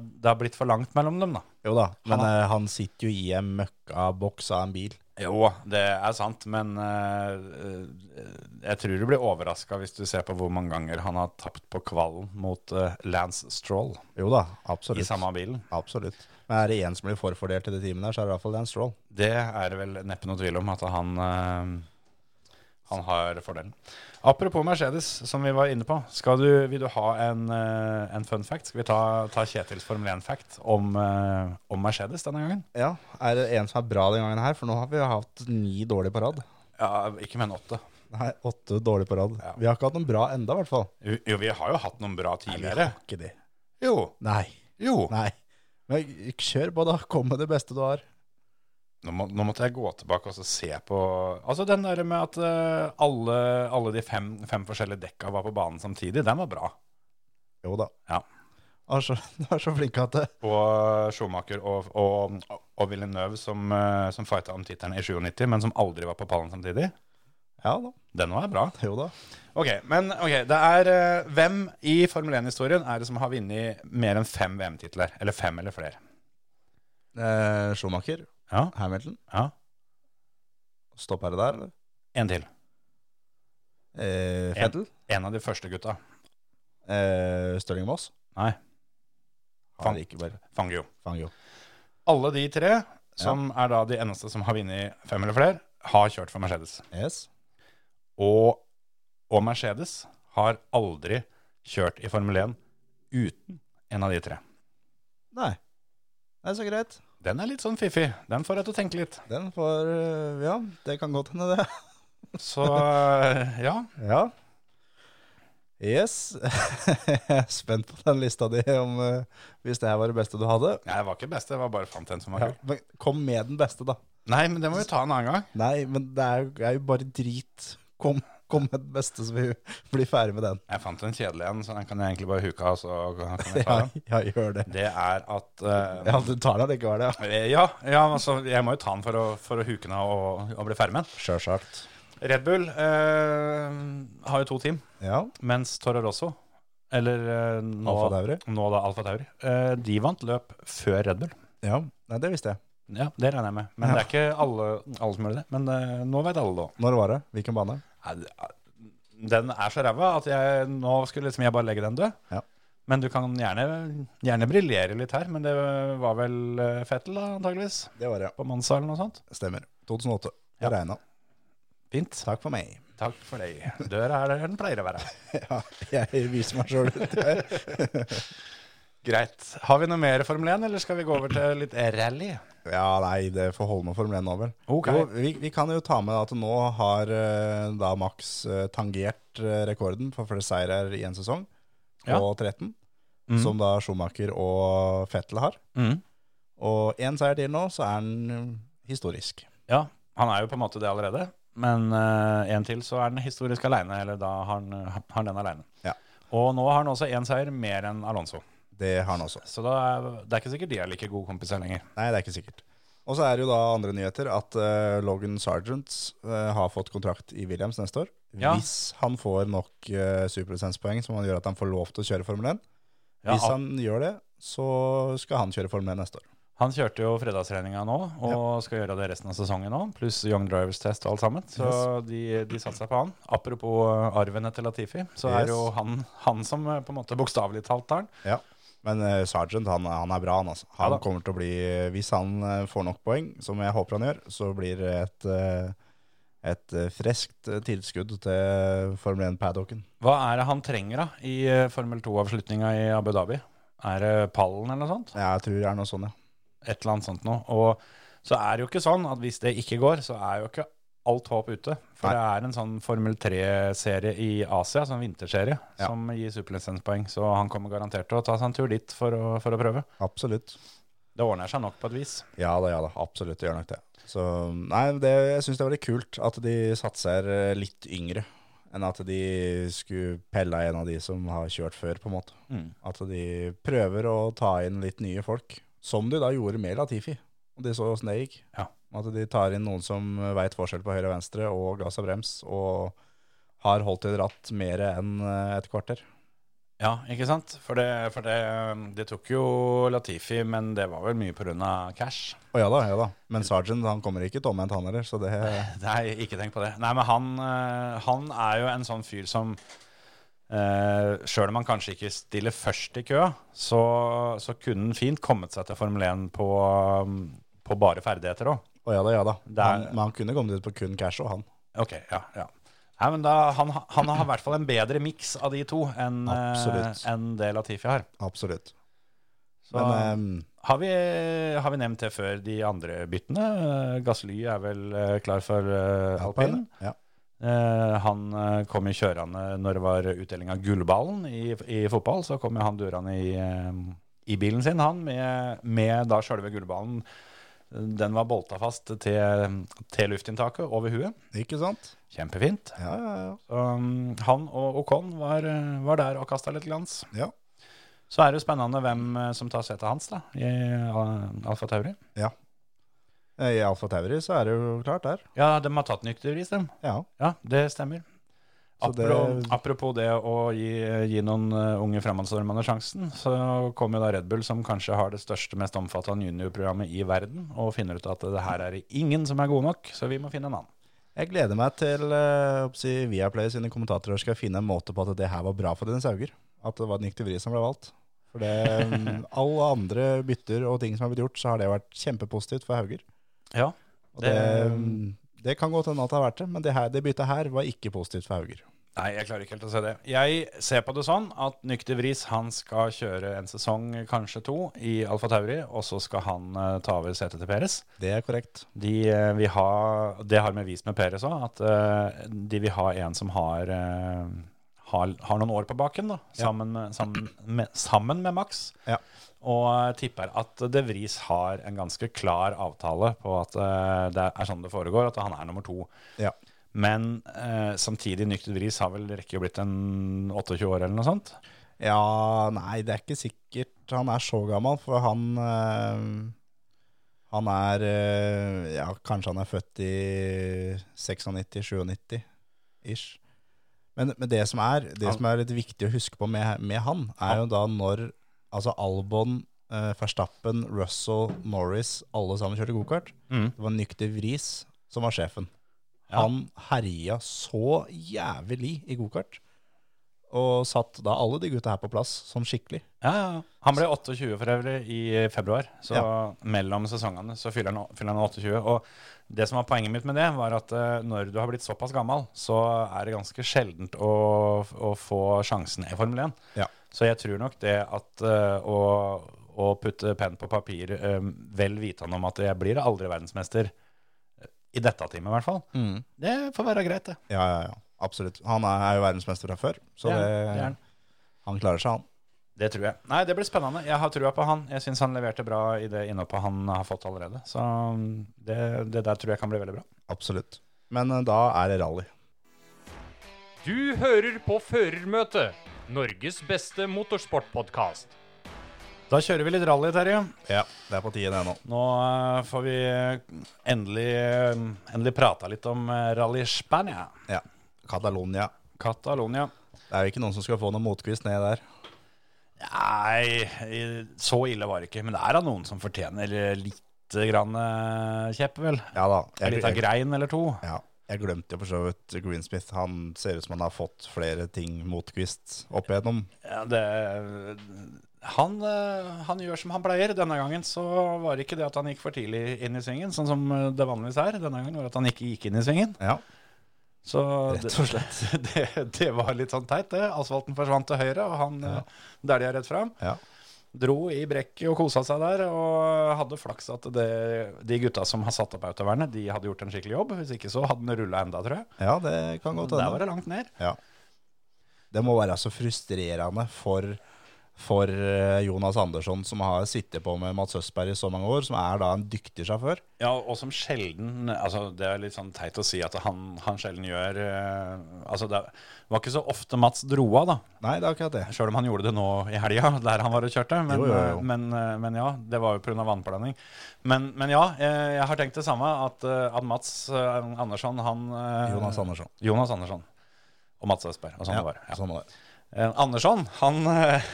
Speaker 3: Det har blitt for langt mellom dem, da.
Speaker 4: Jo da. Men
Speaker 3: Han
Speaker 4: han, han sitter jo i en møkkaboks av en bil.
Speaker 3: Jo, det er sant, men eh, eh, jeg tror du blir overraska hvis du ser på hvor mange ganger han har tapt på kvalen mot eh, Lance Stroll
Speaker 4: Jo da,
Speaker 3: i
Speaker 4: absolutt.
Speaker 3: samme bilen.
Speaker 4: Absolutt. Men er det én som blir forfordelt i det teamet der, så er det i hvert fall Dan Stroll.
Speaker 3: Det er det vel neppe noe tvil om at han, eh, han har fordelen. Apropos Mercedes, som vi var inne på. Skal du, vil du ha en, eh, en fun fact? Skal vi ta, ta Kjetils Formel 1-fact om, eh, om Mercedes denne gangen?
Speaker 4: Ja, er det en som er bra den gangen her? For nå har vi jo hatt ni dårlige på rad.
Speaker 3: Ja, ikke med en åtte.
Speaker 4: Nei, åtte dårlige på rad.
Speaker 3: Ja.
Speaker 4: Vi har ikke hatt noen bra enda, i hvert fall.
Speaker 3: Jo, jo, vi har jo hatt noen bra tidligere.
Speaker 4: ikke det.
Speaker 3: Jo,
Speaker 4: Nei.
Speaker 3: jo.
Speaker 4: Nei. Men kjør på, da. Kom med det beste du har.
Speaker 3: Nå, må, nå måtte jeg gå tilbake og så se på Altså den der med at eh, alle, alle de fem, fem forskjellige dekka var på banen samtidig, den var bra.
Speaker 4: Jo da.
Speaker 3: Ja.
Speaker 4: Han er så, han er så flink at det
Speaker 3: og Schumacher og, og, og Villeneuve som, eh, som fighta om tittelen i 97, men som aldri var på pallen samtidig.
Speaker 4: Ja da.
Speaker 3: Den var bra.
Speaker 4: Jo da.
Speaker 3: Ok, men ok, det er eh, Hvem i Formel 1-historien er det som har vunnet mer enn fem VM-titler? Eller fem eller flere?
Speaker 4: Eh, Schumacher,
Speaker 3: Ja,
Speaker 4: Hamilton.
Speaker 3: ja.
Speaker 4: Stopp her og der, eller?
Speaker 3: En til.
Speaker 4: Eh,
Speaker 3: En-
Speaker 4: Fettel.
Speaker 3: En av de første gutta.
Speaker 4: Eh, Stirling Moss.
Speaker 3: Nei,
Speaker 4: Han
Speaker 3: Fang-
Speaker 4: liker bare
Speaker 3: Fangio.
Speaker 4: Fangio.
Speaker 3: Alle de tre, som er da de eneste som har vunnet fem eller flere, har kjørt for Mercedes.
Speaker 4: Yes.
Speaker 3: Og, og Mercedes har aldri kjørt i Formel 1 uten en av de tre.
Speaker 4: Nei. Det er så greit.
Speaker 3: Den er litt sånn fiffig. Den får deg til å tenke litt.
Speaker 4: Den får eh, Ja, det kan godt hende, det.
Speaker 3: Så eh, ja.
Speaker 4: Ja. Yes. Jeg er spent på den lista di, om eh, hvis det her var det beste du hadde.
Speaker 3: Jeg var ikke best, jeg var bare fant en som var
Speaker 4: Ja.
Speaker 3: kul.
Speaker 4: Men kom med den beste, da.
Speaker 3: Nei, men det må vi ta en annen gang.
Speaker 4: Nei, men det er, jo- er jo bare drit. Kom, kom med den beste, så vi blir ferdig med den.
Speaker 3: Jeg fant en kjedelig en, så den kan jeg egentlig bare huke av. Så kan jeg ta
Speaker 4: Ja,
Speaker 3: den.
Speaker 4: ja gjør det.
Speaker 3: Det er at eh,
Speaker 4: Ja, du tar den likevel, ja.
Speaker 3: eh, ja, ja, altså, jeg må jo ta den for å, for å huke den av og, og bli ferdig med den.
Speaker 4: Sjølsagt.
Speaker 3: Red Bull eh, har jo to team,
Speaker 4: Ja.
Speaker 3: mens Toro Rosso, eller eh, nå,
Speaker 4: Alfa Tauri.
Speaker 3: nå da Alfa Tauri, eh, de vant løp før Red Bull.
Speaker 4: ja. Nei, det visste jeg.
Speaker 3: Ja, det regner jeg med. Men det er ikke alle, alle som gjør det. Men eh, nå vet alle det òg.
Speaker 4: Når var det? Hvilken bane?
Speaker 3: Nei, det- ah, Den er så ræva at jeg, nå skulle liksom jeg bare legge den død.
Speaker 4: Ja.
Speaker 3: Men du kan gjerne, gjerne briljere litt her, men det var vel eh, Fettel da, antageligvis?
Speaker 4: Det var det.
Speaker 3: På Monza eller noe sånt?
Speaker 4: Stemmer. 2008.
Speaker 3: Ja.
Speaker 4: Jeg regna.
Speaker 3: Fint.
Speaker 4: Takk for meg.
Speaker 3: Takk for deg. Døra er der den pleier å være.
Speaker 4: Ja, jeg viser meg sjøl ut.
Speaker 3: Greit. Har vi noe mer Formel 1, eller skal vi gå over til litt rally?
Speaker 4: Ja, nei, det får holde med Formel 1 nå, vel.
Speaker 3: Ok.
Speaker 4: Jo, vi, vi kan jo ta med at nå har eh, da Max eh, tangert eh, rekorden for flere seirer i en sesong, på
Speaker 3: Ja.
Speaker 4: 13,
Speaker 3: Mhm.
Speaker 4: som da Schumacher og Fettel har.
Speaker 3: Mhm.
Speaker 4: Og én seier til nå, så er han eh, historisk.
Speaker 3: Ja, han er jo på en måte det allerede. Men eh, en til så er den historisk aleine, eller da har han, har han den aleine.
Speaker 4: Ja.
Speaker 3: Og nå har han også én seier mer enn Alonso.
Speaker 4: Det har han også.
Speaker 3: Så da er, det er ikke sikkert de er like gode kompiser lenger.
Speaker 4: Nei, det er ikke sikkert. Og så er det jo da andre nyheter at eh, Logan Sargent eh, har fått kontrakt i Williams neste år.
Speaker 3: Ja.
Speaker 4: Hvis han får nok eh, superlisenspoeng som han gjør at han får lov til å kjøre Formel 1.
Speaker 3: Ja,
Speaker 4: Hvis han gjør det, så skal han kjøre Formel 1 neste år.
Speaker 3: Han kjørte jo fredagstreninga nå, og skal gjøre det resten av sesongen nå. Pluss Young Drivers Test og alt sammen. Så de, de satser på han. Apropos eh, arven etter Latifi, så er
Speaker 4: Yes.
Speaker 3: det jo han, han som eh, på en måte bokstavelig talt tar den.
Speaker 4: Ja. Men eh, Sargent han, han er bra, han altså. Han
Speaker 3: Ja da.
Speaker 4: kommer til å bli Hvis han eh, får nok poeng, som jeg håper han gjør, så blir det et, eh, et eh, freskt eh, tilskudd til Formel 1-paddocken.
Speaker 3: Hva er det han trenger da i eh, Formel 2-avslutninga i Abu Dhabi? Er det pallen eller noe sånt?
Speaker 4: Jeg tror det er noe sånn, ja.
Speaker 3: Et eller annet sånt noe. Og så er det jo ikke sånn at hvis det ikke går, så er jo ikke alt håp ute. For
Speaker 4: Nei.
Speaker 3: det er en sånn Formel 3-serie i Asia, sånn vinterserie,
Speaker 4: Ja.
Speaker 3: som gir superlisenspoeng. Så han kommer garantert til å ta seg en tur dit for å, for å prøve.
Speaker 4: Absolutt.
Speaker 3: Det ordner seg nok på et vis.
Speaker 4: Ja da, ja da. Absolutt, det gjør nok det. Så nei, det, jeg syns det var litt kult at de satser eh, litt yngre. Enn at de skulle pelle av en av de som har kjørt før, på en måte.
Speaker 3: Mm.
Speaker 4: At de prøver å ta inn litt nye folk. Som de da gjorde med Latifi. Og de så åssen det gikk.
Speaker 3: Ja.
Speaker 4: At de tar inn noen som veit forskjell på høyre og venstre, og gass og brems, og har holdt i ratt mer enn eh, et kvarter.
Speaker 3: Ja, ikke sant? For det, for det, det tok jo Latifi, men det var vel mye pga. cash.
Speaker 4: Å ja da, ja da. Men Sergeant han kommer ikke tomhendt, han heller. Så det
Speaker 3: Nei, ikke tenk på det. Nei, men han, eh, han er jo en sånn fyr som eh, Sjøl om han kanskje ikke stiller først i køa, så, så kunne han fint kommet seg til Formel 1 på, um, på bare ferdigheter òg.
Speaker 4: Å ja da, ja da.
Speaker 3: Det er-
Speaker 4: Han, men han kunne kommet ut på kun cash og han.
Speaker 3: Ok, ja, ja. Nei, men da, han, han har i hvert fall en bedre miks av de to enn eh,
Speaker 4: Absolutt.
Speaker 3: enn det Latifi har.
Speaker 4: Absolutt.
Speaker 3: Så-
Speaker 4: Men ehm,
Speaker 3: Har vi, har vi nevnt det før, de andre byttene? Eh, Gasly er vel eh, klar for eh, alpin.
Speaker 4: Ja.
Speaker 3: Eh, Han eh, kom jo kjørende når det var utdeling av gullballen i, i fotball. Så kom jo han durende i, eh, i bilen sin, han, med, med da sjølve gullballen. Den var bolta fast til, til luftinntaket over huet.
Speaker 4: Ikke sant?
Speaker 3: Kjempefint.
Speaker 4: Ja, ja, ja.
Speaker 3: Um, han og Ocon var, eh, var der og kasta litt glans.
Speaker 4: Ja.
Speaker 3: Så er det jo spennende hvem eh, som tar setet hans da, i eh, Alfa Tauri.
Speaker 4: I Alfa Tauri så er det jo klart der.
Speaker 3: Ja, de har tatt nyktervis, de.
Speaker 4: Ja.
Speaker 3: Ja, det stemmer.
Speaker 4: Så det-
Speaker 3: Apropos, apropos det å gi, gi noen eh, unge fremadstormende sjansen, så kommer jo da Red Bull, som kanskje har det største, mest omfattende juniorprogrammet i verden, og finner ut at det her er det ingen som er gode nok, så vi må finne en annen.
Speaker 4: Jeg gleder meg til eh, oppsi, Viaplay sine kommentatorer skal finne en måte på at det her var bra for dine sauger. At det var Nick de Vries som ble valgt. For det, ehm, alle andre bytter og ting som har blitt gjort, så har det vært kjempepositivt for Hauger.
Speaker 3: Ja,
Speaker 4: Og det, ehm, det kan godt hende at det har vært det, men det, her, det byttet her var ikke positivt for Hauger.
Speaker 3: Nei, jeg klarer ikke helt å se det. Jeg ser på det sånn at Nyk de Vries han skal kjøre en sesong, kanskje to, i Alfa Tauri, og så skal han eh, ta over setet til Peres.
Speaker 4: Det er korrekt.
Speaker 3: De, eh, vil ha, det har vi vist med Peres òg, at eh, de vil ha en som har, eh, har, har noen år på baken, da, sammen, med, sammen, med, sammen med Max.
Speaker 4: Ja.
Speaker 3: Og eh, tipper at De Vries har en ganske klar avtale på at eh, det er sånn det foregår, at han er nummer to.
Speaker 4: Ja.
Speaker 3: Men eh, samtidig, Nyk de Vries har vel rekker jo blitt en 28 år eller noe sånt.
Speaker 4: Ja, nei, det er ikke sikkert han er så gammel, for han eh, Han er eh, Ja, kanskje han er født i 96-97 ish. Men, men det, som er, det
Speaker 3: Han-
Speaker 4: som er litt viktig å huske på med, med han, er jo da når altså Albon, eh, Verstappen, Russell, Norris, alle sammen kjørte gokart.
Speaker 3: Mm.
Speaker 4: Det var Nyk de Vries som var sjefen.
Speaker 3: Ja.
Speaker 4: Han herja så jævlig i gokart. Og satt da alle de gutta her på plass sånn skikkelig.
Speaker 3: Ja, ja. ja. Han ble 28 for øvrig i februar, så mellom sesongene så fyller han, fyller han 28. Og det som var poenget mitt med det, var at eh, når du har blitt såpass gammel, så er det ganske sjeldent å, å få sjansen i Formel 1.
Speaker 4: Ja.
Speaker 3: Så jeg tror nok det at eh, å, å putte penn på papir, eh, vel vitende om at jeg blir aldri verdensmester, eh, i dette teamet i hvert fall, det får være greit, det.
Speaker 4: Ja, ja, ja. Absolutt. Han er, er jo verdensmester fra før, så
Speaker 3: Det
Speaker 4: det,
Speaker 3: er- det er han.
Speaker 4: han klarer seg, han.
Speaker 3: Det tror jeg. Nei, det blir spennende. Jeg har trua på han. Jeg syns han leverte bra i det innhoppet han har fått allerede. Så um, det, det der tror jeg kan bli veldig bra.
Speaker 4: Absolutt. Men eh, da er det rally.
Speaker 5: Du hører på Førermøtet, Norges beste motorsportpodkast.
Speaker 3: Da kjører vi litt rally, Terje.
Speaker 4: Ja, det er på tide det nå.
Speaker 3: Nå eh, får vi endelig, eh, endelig prata litt om eh, Rally Spania.
Speaker 4: Ja. Catalonia.
Speaker 3: Catalonia.
Speaker 4: Det er jo ikke noen som skal få noen motkvist ned der.
Speaker 3: Nei, i- så ille var det ikke. Men det er da noen som fortjener eh, lite grann eh, kjepp, vel?
Speaker 4: Ja da.
Speaker 3: En liten
Speaker 4: jeg,
Speaker 3: grein eller to.
Speaker 4: ja, jeg glemte jo for så vidt Greensmith. Han ser ut som han har fått flere ting motkvist opp igjennom.
Speaker 3: Ja, det, han, eh, han gjør som han pleier. Denne gangen så var det ikke det at han gikk for tidlig inn i svingen, sånn som eh, det vanligvis er. Denne gangen var det at han ikke gikk inn i svingen.
Speaker 4: Ja.
Speaker 3: Så
Speaker 4: Rett og
Speaker 3: slett. Det, det var litt sånn teit, det. Asfalten forsvant til høyre, og han eh,
Speaker 4: Ja.
Speaker 3: ja. dælja rett fram.
Speaker 4: ja.
Speaker 3: Dro i brekket og kosa seg der, og hadde flaks at det, de gutta som har satt opp autovernet, de hadde gjort en skikkelig jobb. Hvis ikke så hadde den rulla enda, tror jeg.
Speaker 4: Ja, det kan godt
Speaker 3: Der var
Speaker 4: hende.
Speaker 3: det langt ned.
Speaker 4: Ja. Det må være så frustrerende for, for eh, Jonas Andersson, som har sittet på med Mats Østberg i så mange år, som er da en dyktig sjåfør.
Speaker 3: Ja, og som sjelden altså Det er litt sånn teit å si at han, han sjelden gjør eh, Altså, det var ikke så ofte Mats dro av, da.
Speaker 4: Nei, det er akkurat det.
Speaker 3: Sjøl om han gjorde det nå i helga, der han var og kjørte. Men, eh,
Speaker 4: Jo, jo, jo.
Speaker 3: men, men ja, det var jo pga. vannblanding. Men, men ja, eh, jeg, jeg har tenkt det samme, at, eh, at Mats eh, Andersson, han eh,
Speaker 4: Jonas Andersson.
Speaker 3: Jonas Andersson. Og Mats Østberg. Og sånn
Speaker 4: Ja,
Speaker 3: det var. Ja.
Speaker 4: sånn var det.
Speaker 3: Eh, Andersson, han, eh,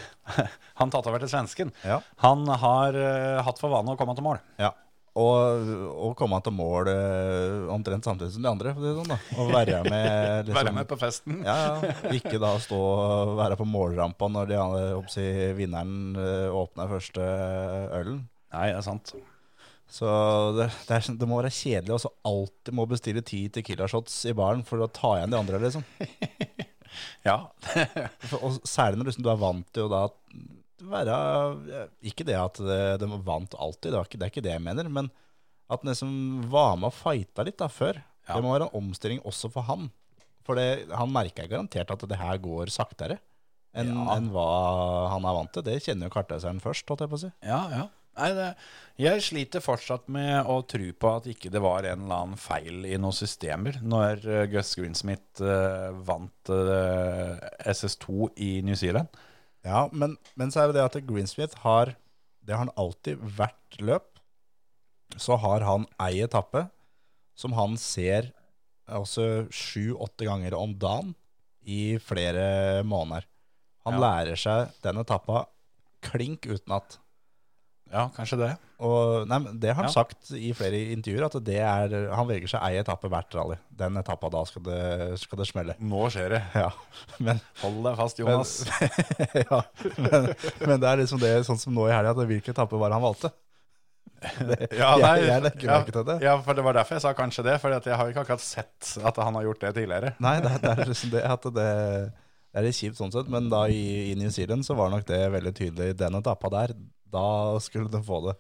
Speaker 3: han tatt over til svensken.
Speaker 4: Ja.
Speaker 3: Han har eh, hatt for vane å komme til mål.
Speaker 4: Ja. Og, og komme til mål eh, omtrent samtidig som de andre, for å si det sånn da. Og være med, liksom,
Speaker 3: Være med på festen.
Speaker 4: Ja, ja. Ikke da stå og være på målrampa når de, andre- håper jeg å si, vinneren eh, åpner første eh, ølen.
Speaker 3: Nei, det er sant.
Speaker 4: Så det, det, er, sånn- det må være kjedelig også alltid må bestille ti tequila-shots i baren for å ta igjen de andre, liksom.
Speaker 3: Ja,
Speaker 4: For, og særlig når liksom, du er vant til å da være Ikke det at det- de vant alltid, det, var ikke, det er ikke det jeg mener, men at han liksom var med og fighta litt da før.
Speaker 3: Ja.
Speaker 4: Det må være en omstilling også for han. For det, han merker garantert at det her går saktere enn
Speaker 3: Ja.
Speaker 4: enn hva han er vant til. Det kjenner jo kartleseren først, holdt jeg på å si.
Speaker 3: ja, ja. Nei, det, jeg sliter fortsatt med å tro på at ikke det var en eller annen feil i noen systemer når eh, Gus Greensmith eh, vant eh, SS2 i New Zealand.
Speaker 4: Ja, men, men så er det det at Greensmith har Det har han alltid hvert løp Så har han ei etappe Som han ser Altså sju-åtte ganger om dagen I flere måneder
Speaker 3: Ja.
Speaker 4: Han lærer seg den etappa Klink uten at
Speaker 3: Ja, kanskje det.
Speaker 4: og, nei, men Det har han
Speaker 3: Ja.
Speaker 4: sagt i flere intervjuer At det er, han velger seg ei etappe hvert rally Den etappa da skal det, skal det smelle
Speaker 3: Nå skjer det.
Speaker 4: Ja, men
Speaker 3: Hold deg fast, Jonas.
Speaker 4: ja, men, men det er liksom det sånn som nå i helga, at hvilken etappe var det han valgte?
Speaker 3: Ja,
Speaker 4: Jeg-
Speaker 3: nei,
Speaker 4: jeg legger merke til det.
Speaker 3: Ja, for det var derfor jeg sa kanskje det. For jeg har ikke akkurat sett at han har gjort det tidligere.
Speaker 4: Nei, det, det er liksom det at det, det er litt kjipt sånn sett, men da i, i New Zealand så var nok det veldig tydelig. Den etappa der, da skulle de få det.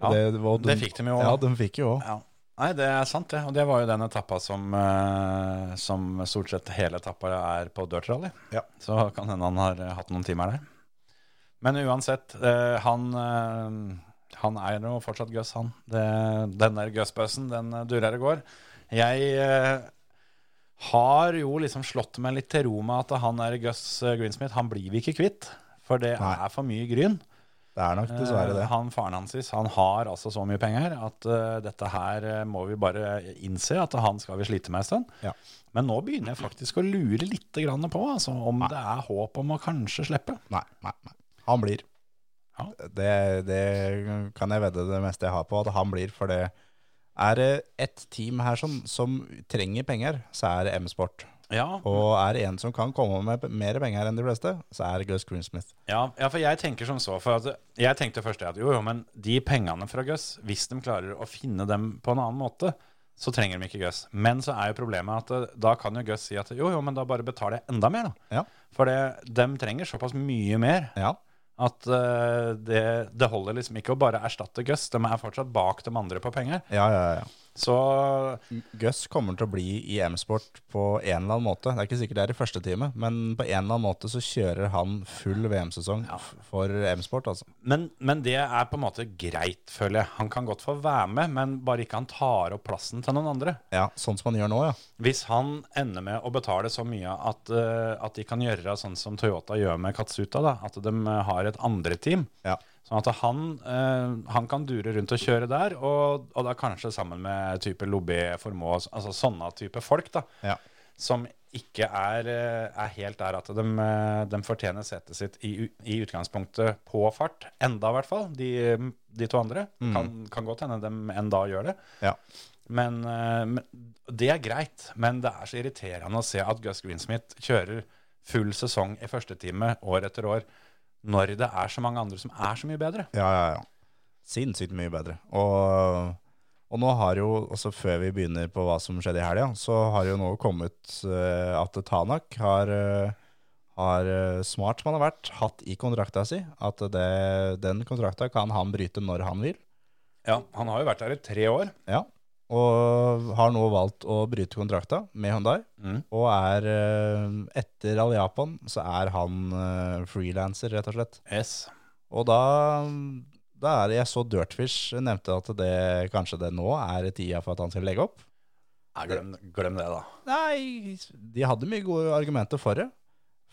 Speaker 4: Og
Speaker 3: Ja,
Speaker 4: var-
Speaker 3: det fikk de jo.
Speaker 4: Ja, de fikk jo òg.
Speaker 3: Ja. Nei, det er sant, det. Og det var jo den etappa som, eh, som stort sett hele etappa er på dirt rally.
Speaker 4: Ja.
Speaker 3: Så kan hende han har eh, hatt noen timer der. Men uansett, eh, han, eh, han er jo fortsatt gøss, han. Det, den der gøssbøssen, den eh, durer og går. Jeg eh, har jo liksom slått meg litt til ro med at han der Gus eh, Greensmith, han blir vi ikke kvitt. For det
Speaker 4: Nei.
Speaker 3: er for mye gryn.
Speaker 4: Det er nok dessverre det.
Speaker 3: Eh, Han, faren hans sist, han har altså så mye penger at eh, dette her eh, må vi bare innse at han skal vi slite med en stund.
Speaker 4: Ja.
Speaker 3: Men nå begynner jeg faktisk å lure litt grann på altså, om det er håp om å kanskje slippe.
Speaker 4: Nei, nei, nei. Han blir.
Speaker 3: Ja.
Speaker 4: Det, det kan jeg vedde det meste jeg har på, at han blir. For det er det ett team her som, som trenger penger, så er det M-Sport.
Speaker 3: Ja,
Speaker 4: Og er det en som kan komme med p- mer penger enn de fleste, så er det Gus Greensmith.
Speaker 3: ja, ja, for jeg tenker som så. For at, jeg tenkte først det at jo, jo, men de pengene fra Gus, hvis de klarer å finne dem på en annen måte, så trenger de ikke Gus. Men så er jo problemet at eh, da kan jo Gus si at jo, jo, men da bare betaler jeg enda mer, da.
Speaker 4: Ja.
Speaker 3: For det, de trenger såpass mye mer
Speaker 4: Ja,
Speaker 3: At eh, det, det holder liksom ikke å bare erstatte Gus. De er fortsatt bak de andre på penger.
Speaker 4: ja, ja. ja.
Speaker 3: Så
Speaker 4: Gus kommer til å bli i M-sport på en eller annen måte. Det er ikke sikkert det er i første time, men på en eller annen måte så kjører han full VM-sesong f- for M-sport, altså.
Speaker 3: men, men det er på en måte greit, føler jeg. Han kan godt få være med, men bare ikke han tar opp plassen til noen andre.
Speaker 4: Ja, sånn som han gjør nå, ja.
Speaker 3: Hvis han ender med å betale så mye at, eh, at de kan gjøre sånn som Toyota gjør med Katsuta, da, at de har et andre team
Speaker 4: Ja.
Speaker 3: Sånn at han, eh, han kan dure rundt og kjøre der, og, og da kanskje sammen med type Lobé, Formoe, altså sånne type folk da,
Speaker 4: Ja.
Speaker 3: som ikke er, eh, er helt der at de, eh, de fortjener setet sitt i, u- i utgangspunktet på fart. Enda i hvert fall, de, mm, de to andre. Kan, kan godt hende de en dag gjør det.
Speaker 4: Ja.
Speaker 3: Men, eh, men det er greit, men det er så irriterende å se at Gus Greensmith kjører full sesong i første time år etter år, når det er så mange andre som er så mye bedre.
Speaker 4: Ja, ja, ja. Sinnssykt mye bedre. Og, og nå har jo, også før vi begynner på hva som skjedde i helga, så har jo nå kommet eh, at Tanak har, eh, har eh, smart som han har vært, hatt i kontrakta si at det, den kontrakta kan han bryte når han vil.
Speaker 3: Ja, han har jo vært der i tre år.
Speaker 4: Ja. Og har nå valgt å bryte kontrakta med Hyundai.
Speaker 3: Mm.
Speaker 4: Og er eh, etter All Japan så er han eh, frilanser, rett og slett.
Speaker 3: Yes.
Speaker 4: Og da, da er det jeg så Dirtfish nevnte at det kanskje det nå er tida for at han skal legge opp.
Speaker 3: Ja, glem, glem det, da.
Speaker 4: Nei, de hadde mye gode argumenter for det.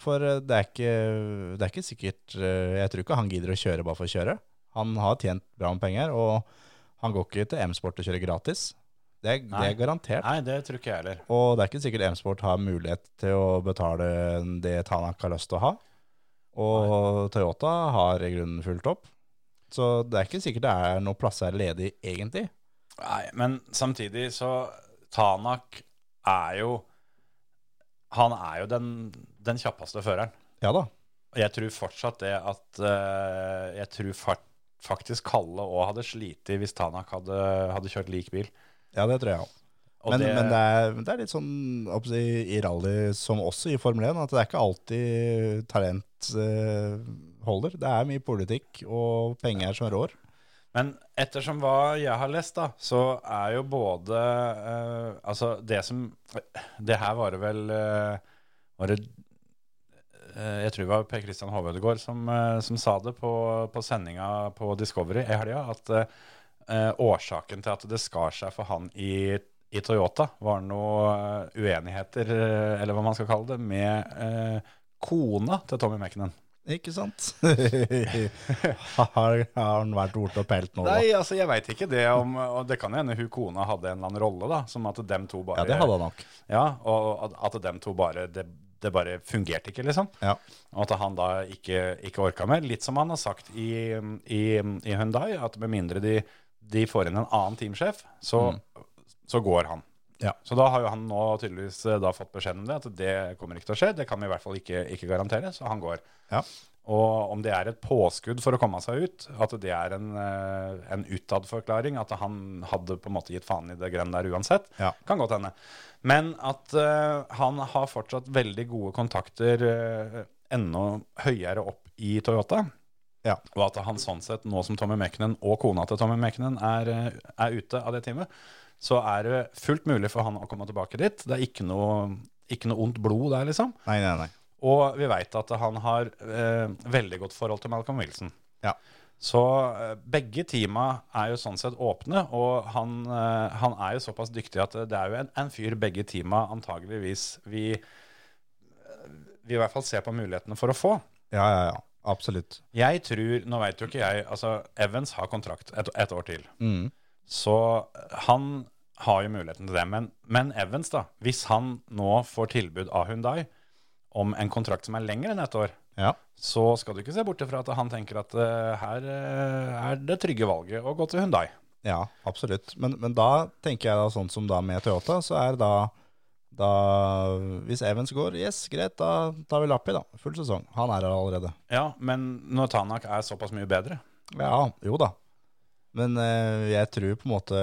Speaker 4: For eh, det er ikke, det er ikke sikkert eh, Jeg tror ikke han gidder å kjøre bare for å kjøre. Han har tjent bra med penger, og han går ikke til M-sport og kjører gratis. Det er, det
Speaker 3: Nei.
Speaker 4: er garantert.
Speaker 3: Nei, det tror ikke jeg heller.
Speaker 4: Og det er ikke sikkert M-sport har mulighet til å betale det Tanak har lyst til å ha. Og Toyota har i grunnen fulgt opp. Så det er ikke sikkert det er noen plasser ledig, egentlig.
Speaker 3: Nei, men samtidig så Tanak er jo Han er jo den, den kjappeste føreren.
Speaker 4: Ja da.
Speaker 3: Og jeg tror fortsatt det at eh, Jeg tror fart, faktisk Kalle òg hadde slitt hvis Tanak hadde, hadde kjørt lik bil.
Speaker 4: Ja, det tror jeg òg.
Speaker 3: Og
Speaker 4: Men,
Speaker 3: det,
Speaker 4: men det, er, det er litt sånn hva skal jeg si, i rally som også i Formel 1, at det er ikke alltid talent eh, holder. Det er mye politikk og penger som rår.
Speaker 3: men ettersom hva jeg har lest, da, så er jo både eh, Altså, det som Det her var det vel eh, Var det eh, jeg tror det var Per Christian Hovedegård som, eh, som sa det på, på sendinga på Discovery i helga, at eh, eh, årsaken til at det skar seg for han i, i Toyota, var noe eh, uenigheter, eh, eller hva man skal kalle det, med eh, kona til Tommy Mekkenen.
Speaker 4: Ikke sant? har, har han vært ort og pelt nå? da?
Speaker 3: Nei, altså jeg veit ikke det om Og det kan jo hende hun kona hadde en eller annen rolle, da. Som at dem to bare
Speaker 4: Ja, det hadde han nok.
Speaker 3: Ja, og at- at dem to bare det, det bare fungerte ikke, liksom.
Speaker 4: Ja.
Speaker 3: Og at han da ikke, ikke orka mer. Litt som han har sagt i, i, i Hyundai, at med mindre de, de får inn en annen teamsjef, så, så går han.
Speaker 4: Mm. Ja.
Speaker 3: Så da har jo han nå tydeligvis eh, da fått beskjed om det, at det kommer ikke til å skje. Det kan vi i hvert fall ikke, ikke garantere, så han går.
Speaker 4: Ja.
Speaker 3: Og om det er et påskudd for å komme seg ut, at det er en, eh, en utadforklaring, at han hadde på en måte gitt faen i det greiene der uansett,
Speaker 4: Ja.
Speaker 3: kan godt hende. Men at eh, han har fortsatt veldig gode kontakter eh, enda høyere opp i Toyota.
Speaker 4: Ja.
Speaker 3: Og at han sånn sett, nå som Tommy Mekkenen og kona til Tommy Mekkenen er, eh, er ute av det teamet, så er det fullt mulig for han å komme tilbake dit. Det er ikke noe, ikke noe ondt blod der, liksom.
Speaker 4: Nei, nei, nei.
Speaker 3: Og vi veit at han har eh, veldig godt forhold til Malcolm Wilson.
Speaker 4: Ja.
Speaker 3: Så eh, begge teama er jo sånn sett åpne, og han, eh, han er jo såpass dyktig at det er jo en, en fyr begge teama antageligvis vi, eh, vi i hvert fall ser på mulighetene for å få.
Speaker 4: Ja, ja, ja. Absolutt.
Speaker 3: Jeg tror, nå vet jo ikke jeg, altså Evans har kontrakt et, et år til. Så eh, han har jo muligheten til det. Men, men Evans da, hvis han nå får tilbud av Hyundai om en kontrakt som er lengre enn et år,
Speaker 4: Ja.
Speaker 3: så skal du ikke se bort ifra at han tenker at eh, her eh, er det trygge valget å gå til Hyundai.
Speaker 4: Ja, absolutt. Men, men da tenker jeg da sånn som da med Toyota, så er da, da Hvis Evans går, yes, greit, da tar vi Lappi, da. Full sesong. Han er her allerede.
Speaker 3: Ja, men når Tanak er såpass mye bedre
Speaker 4: Ja, jo da. Men eh, jeg tror på en måte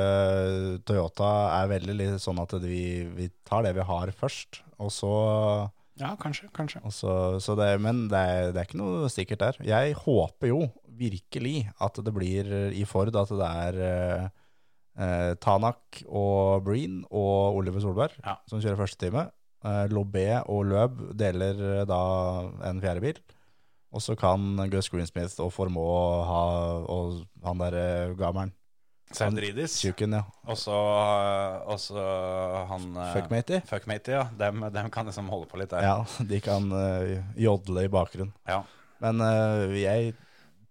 Speaker 4: Toyota er veldig litt sånn at vi, vi tar det vi har først, og så,
Speaker 3: Ja, kanskje, kanskje.
Speaker 4: og så, så det, Men det er, det er ikke noe sikkert der. Jeg håper jo virkelig at det blir i Ford at det er eh, eh, Tanak og Breen og Oliver Solberg
Speaker 3: Ja.
Speaker 4: som kjører første time. Eh, Lobé og Løb deler eh, da en fjerde bil. Og så kan Gus Greensmith og Formå ha og han der eh, gammelen.
Speaker 3: Sandridis,
Speaker 4: Tjukken, ja.
Speaker 3: og så eh, og så han eh,
Speaker 4: Fuckmatey.
Speaker 3: Fuckmatey, ja. Dem, dem kan liksom holde på litt der.
Speaker 4: Ja, de kan eh, jodle i bakgrunnen.
Speaker 3: Ja.
Speaker 4: Men eh, jeg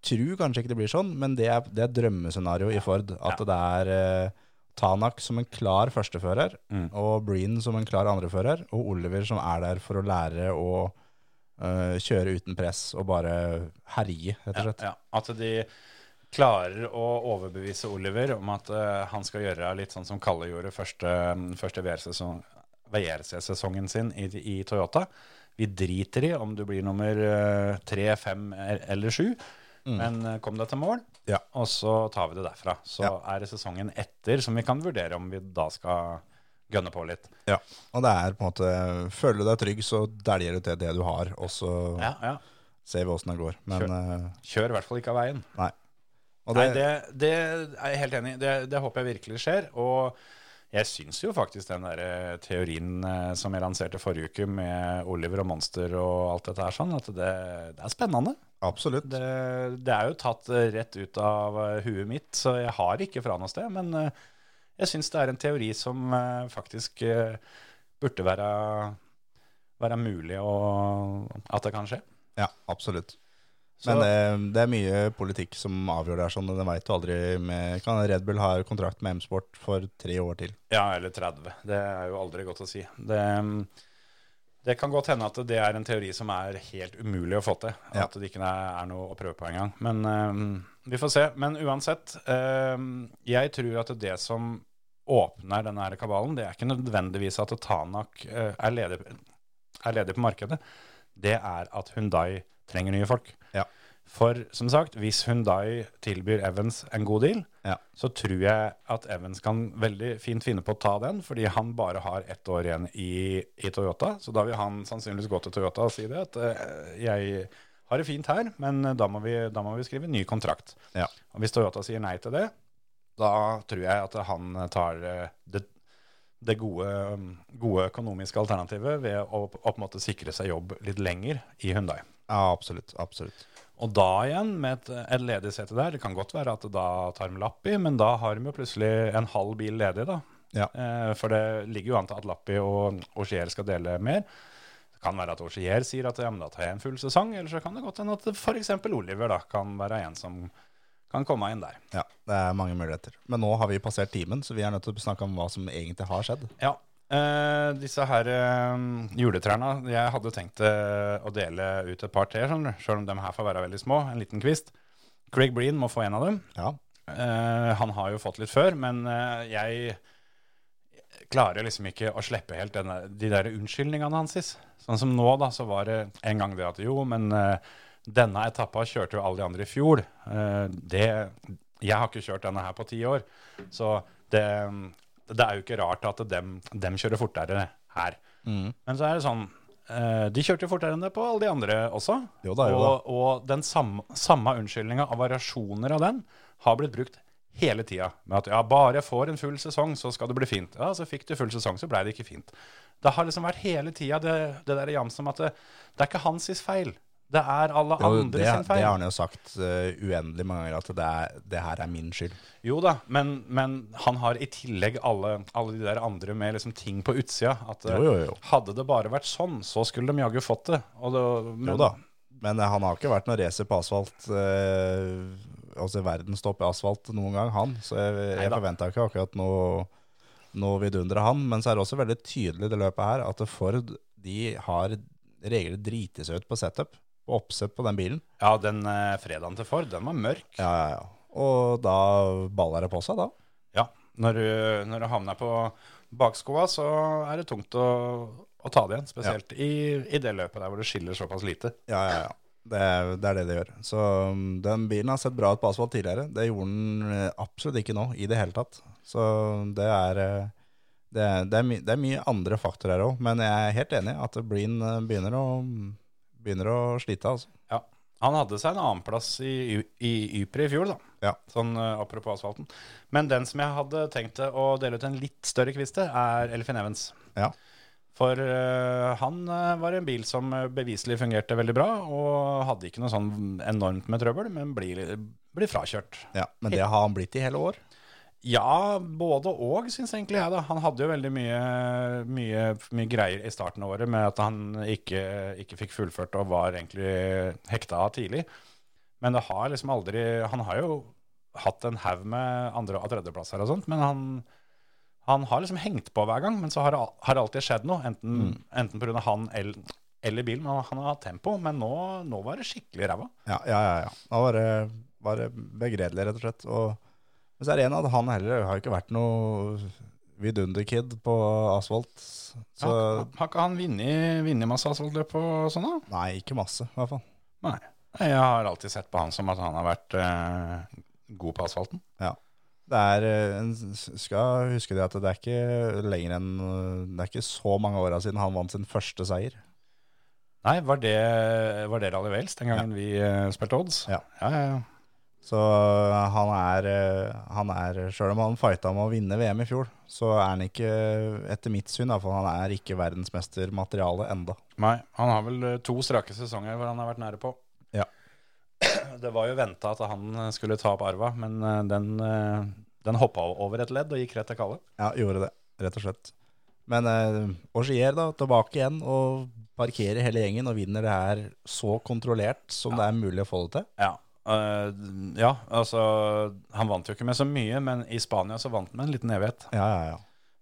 Speaker 4: tror kanskje ikke det blir sånn, men det er, det er drømmescenarioet i Ford. At det er eh, Tanak som en klar førstefører,
Speaker 3: Mm.
Speaker 4: og Breen som en klar andrefører, og Oliver som er der for å lære å eh, kjøre uten press og bare herje, rett og
Speaker 3: Ja,
Speaker 4: slett.
Speaker 3: ja. At de klarer å overbevise Oliver om at eh, han skal gjøre litt sånn som Kalle gjorde første, første VR-sesong- VRC-sesongen sin i, i Toyota. Vi driter i om du blir nummer eh, tre, fem er- eller sju, men eh, kom deg til mål,
Speaker 4: Ja.
Speaker 3: og så tar vi det derfra. Så
Speaker 4: Ja.
Speaker 3: er det sesongen etter som vi kan vurdere om vi da skal gønne på litt.
Speaker 4: Ja, og det er på en måte Føler du deg trygg, så dæljer du til det du har, og så
Speaker 3: Ja, ja.
Speaker 4: ser vi åssen det går. Men eh,
Speaker 3: Kjør i hvert fall ikke av veien.
Speaker 4: nei. Og
Speaker 3: Nei, det, det er jeg helt enig i. Det, det håper jeg virkelig skjer. Og jeg syns jo faktisk den der eh, teorien eh, som jeg lanserte forrige uke med Oliver og Monster og alt dette her, sånn, at det, det er spennende.
Speaker 4: Absolutt.
Speaker 3: Det, det er jo tatt eh, rett ut av eh, huet mitt, så jeg har ikke fra noe sted. Men eh, jeg syns det er en teori som eh, faktisk eh, burde være, være mulig, og at det kan skje.
Speaker 4: Ja, absolutt.
Speaker 3: Så-
Speaker 4: Men eh, det er mye politikk som avgjør det her, sånn. og Den veit du aldri med Kan Red Bull ha kontrakt med M-Sport for tre år til?
Speaker 3: Ja, eller 30. Det er jo aldri godt å si. Det, mm, det kan godt hende at det er en teori som er helt umulig å få til.
Speaker 4: Ja.
Speaker 3: At det ikke er er noe å prøve på engang. Men eh, vi får se. Men uansett, eh, jeg tror at det som åpner denne her kabalen, det er ikke nødvendigvis at Tanak eh, er, ledig, er ledig på markedet. Det er at Hundai trenger nye folk.
Speaker 4: Ja.
Speaker 3: For som sagt, hvis Hundai tilbyr Evans en god deal,
Speaker 4: Ja.
Speaker 3: så tror jeg at Evans kan veldig fint finne på å ta den, fordi han bare har ett år igjen i, i Toyota. Så da vil han sannsynligvis gå til Toyota og si det, at eh, jeg har det fint her, men eh, da må vi, da må vi skrive ny kontrakt.
Speaker 4: Ja.
Speaker 3: Og hvis Toyota sier nei til det, da tror jeg at han tar eh, det, det gode, gode økonomiske alternativet ved å på en måte sikre seg jobb litt lenger i Hyundai.
Speaker 4: Ja, absolutt. Absolutt.
Speaker 3: Og da igjen, med et, et ledig sete der, det kan godt være at det da tar de Lappi, men da har de jo plutselig en halv bil ledig, da.
Speaker 4: Ja.
Speaker 3: Eh, for det ligger jo an til at Lappi og Auxier skal dele mer. Det kan være at Auxier sier at ja, men da tar jeg en full sesong, eller så kan det godt hende at f.eks. Oliver da kan være en som kan komme inn der.
Speaker 4: Ja, det er mange muligheter. Men nå har vi passert timen, så vi er nødt til å snakke om hva som egentlig har skjedd.
Speaker 3: Ja. eh, disse her eh, juletrærne Jeg hadde tenkt eh, å dele ut et par til, skjønner du. Sjøl om de her får være veldig små. En liten kvist. Craig Breen må få en av dem.
Speaker 4: Ja.
Speaker 3: Eh, han har jo fått litt før, men eh, jeg klarer liksom ikke å slippe helt denne, de der unnskyldningene hans. sis. Sånn som nå, da, så var det en gang det at jo, men eh, denne etappa kjørte jo alle de andre i fjor. Eh, det Jeg har ikke kjørt denne her på ti år, så det, det er jo ikke rart at dem, dem kjører fortere her.
Speaker 4: Mm.
Speaker 3: Men så er det sånn eh, De kjørte jo fortere enn det på alle de andre også.
Speaker 4: Jo da, jo da.
Speaker 3: og, og den samme, samme unnskyldninga av variasjoner av den har blitt brukt hele tida. Med at ja, bare jeg får en full sesong, så skal det bli fint. Ja, så fikk du full sesong, så blei det ikke fint. Det har liksom vært hele tida det, det der jamset om at det, det er ikke hans sin feil. Det er alle
Speaker 4: Jo,
Speaker 3: andre
Speaker 4: det,
Speaker 3: sin
Speaker 4: det
Speaker 3: feil.
Speaker 4: har han jo sagt eh, uendelig mange ganger, at det, er, det her er min skyld.
Speaker 3: Jo da, men, men han har i tillegg alle, alle de der andre med liksom ting på utsida. At eh,
Speaker 4: Jo, jo, jo.
Speaker 3: hadde det bare vært sånn, så skulle de jaggu fått det. Og det men,
Speaker 4: Jo da. Men eh, han har ikke vært noen racer på asfalt, eh, altså verdenstopp i asfalt noen gang, han. Så jeg, jeg
Speaker 3: Neida.
Speaker 4: forventa ikke akkurat noe, noe vidunder av han. Men så er det også veldig tydelig i det løpet her at Ford de har regler driti seg ut på setup. På oppsett på den bilen.
Speaker 3: Ja, den eh, fredagen til Ford, den var mørk.
Speaker 4: Ja, ja, ja. Og da baller det på seg, da.
Speaker 3: Ja, når du, når du havner på bakskoa, så er det tungt å, å ta det igjen. Spesielt i, i det løpet der hvor det skiller såpass lite.
Speaker 4: Ja, ja, ja. Det er, det er det det gjør. Så um, den bilen har sett bra ut på asfalt tidligere. Det gjorde den eh, absolutt ikke nå, i det hele tatt. Så det er eh, Det er, det er, my, det er mye andre faktorer her òg, men jeg er helt enig i at Breen eh, begynner å, begynner å slite, altså.
Speaker 3: Ja. Han hadde seg en annenplass i, Yu- i Ypres i fjor, da.
Speaker 4: Ja.
Speaker 3: Sånn eh, apropos asfalten. Men den som jeg hadde tenkt å dele ut en litt større kvist til, er Elfin Evans.
Speaker 4: Ja.
Speaker 3: For eh, han eh, var en bil som eh, beviselig fungerte veldig bra, og hadde ikke noe sånn enormt med trøbbel, men blir, blir frakjørt.
Speaker 4: ja. Men det har han blitt i hele år.
Speaker 3: Ja, både og, syns egentlig jeg. da. Han hadde jo veldig mye, mye, mye greier i starten av året med at han ikke, ikke fikk fullført og var egentlig hekta av tidlig. Men det har liksom aldri Han har jo hatt en haug med andre- og tredjeplasser og sånt, men han, han har liksom hengt på hver gang. Men så har det al- har det alltid skjedd noe, enten, enten pga. han eller, eller bilen. Men han har hatt tempo, men nå, nå var det skikkelig ræva.
Speaker 4: Ja, ja, ja. ja. Da var det, var det begredelig, rett og slett. Og, men så er det en av at han heller har ikke vært noe vidunderkid på asfalt. Så
Speaker 3: Har, har ikke han vunnet vunnet masse asfaltløp og sånn, da?
Speaker 4: nei, ikke masse, i hvert fall.
Speaker 3: Nei. Nei, Jeg har alltid sett på han som at han har vært eh, god på asfalten.
Speaker 4: Ja. Det er, eh, en s- skal huske det at det er ikke lenger enn eh, Det er ikke så mange åra siden han vant sin første seier.
Speaker 3: Nei, var det, var det Rally Wales den gangen vi eh, spilte odds?
Speaker 4: Ja.
Speaker 3: ja, ja, ja.
Speaker 4: Så han er, eh, han er Sjøl om han fighta med å vinne VM i fjor, så er han ikke, etter mitt syn, da, for han er ikke verdensmestermateriale enda.
Speaker 3: Nei, han har vel eh, to strake sesonger hvor han har vært nære på.
Speaker 4: Ja.
Speaker 3: Det var jo venta at han eh, skulle ta opp arva, men eh, den, eh, den hoppa over et ledd og gikk rett til Kalle.
Speaker 4: Ja, gjorde det, rett og slett. Men eh, Augier da, tilbake igjen og parkerer hele gjengen og vinner det her så kontrollert som det er mulig å få det til.
Speaker 3: Ja. eh, ja, altså Han vant jo ikke med så mye, men i Spania så vant han med en liten evighet.
Speaker 4: Ja, ja, ja.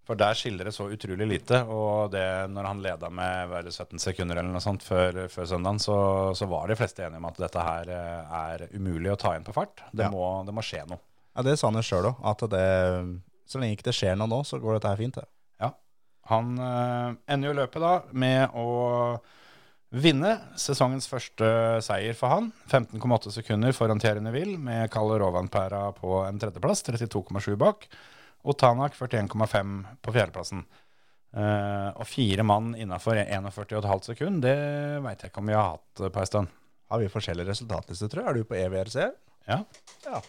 Speaker 3: For der skiller det så utrolig lite. Og det, når han leda med var det 17 sekunder eller noe sånt før, før søndagen, så, så var de fleste enige om at dette her eh, er umulig å ta igjen på fart. Det,
Speaker 4: Ja.
Speaker 3: må, det må skje noe.
Speaker 4: ja det sa han jo sjøl òg, at det, så lenge ikke det skjer noe nå, så går dette her fint. Det.
Speaker 3: Ja. Han eh, ender jo løpet da med å vinne sesongens første seier for han. 15,8 sekunder foran Thierry Neville med Kalle Rovanpera på en tredjeplass, 32,7 bak. Og Tanak 41,5 på fjerdeplassen. Eh, og fire mann innafor 41,5 sekund, det veit jeg ikke om vi har hatt eh, på ei stund.
Speaker 4: Har vi forskjellige resultatlister, tror jeg? Er du på E EVRC?
Speaker 3: Ja.
Speaker 4: Ja.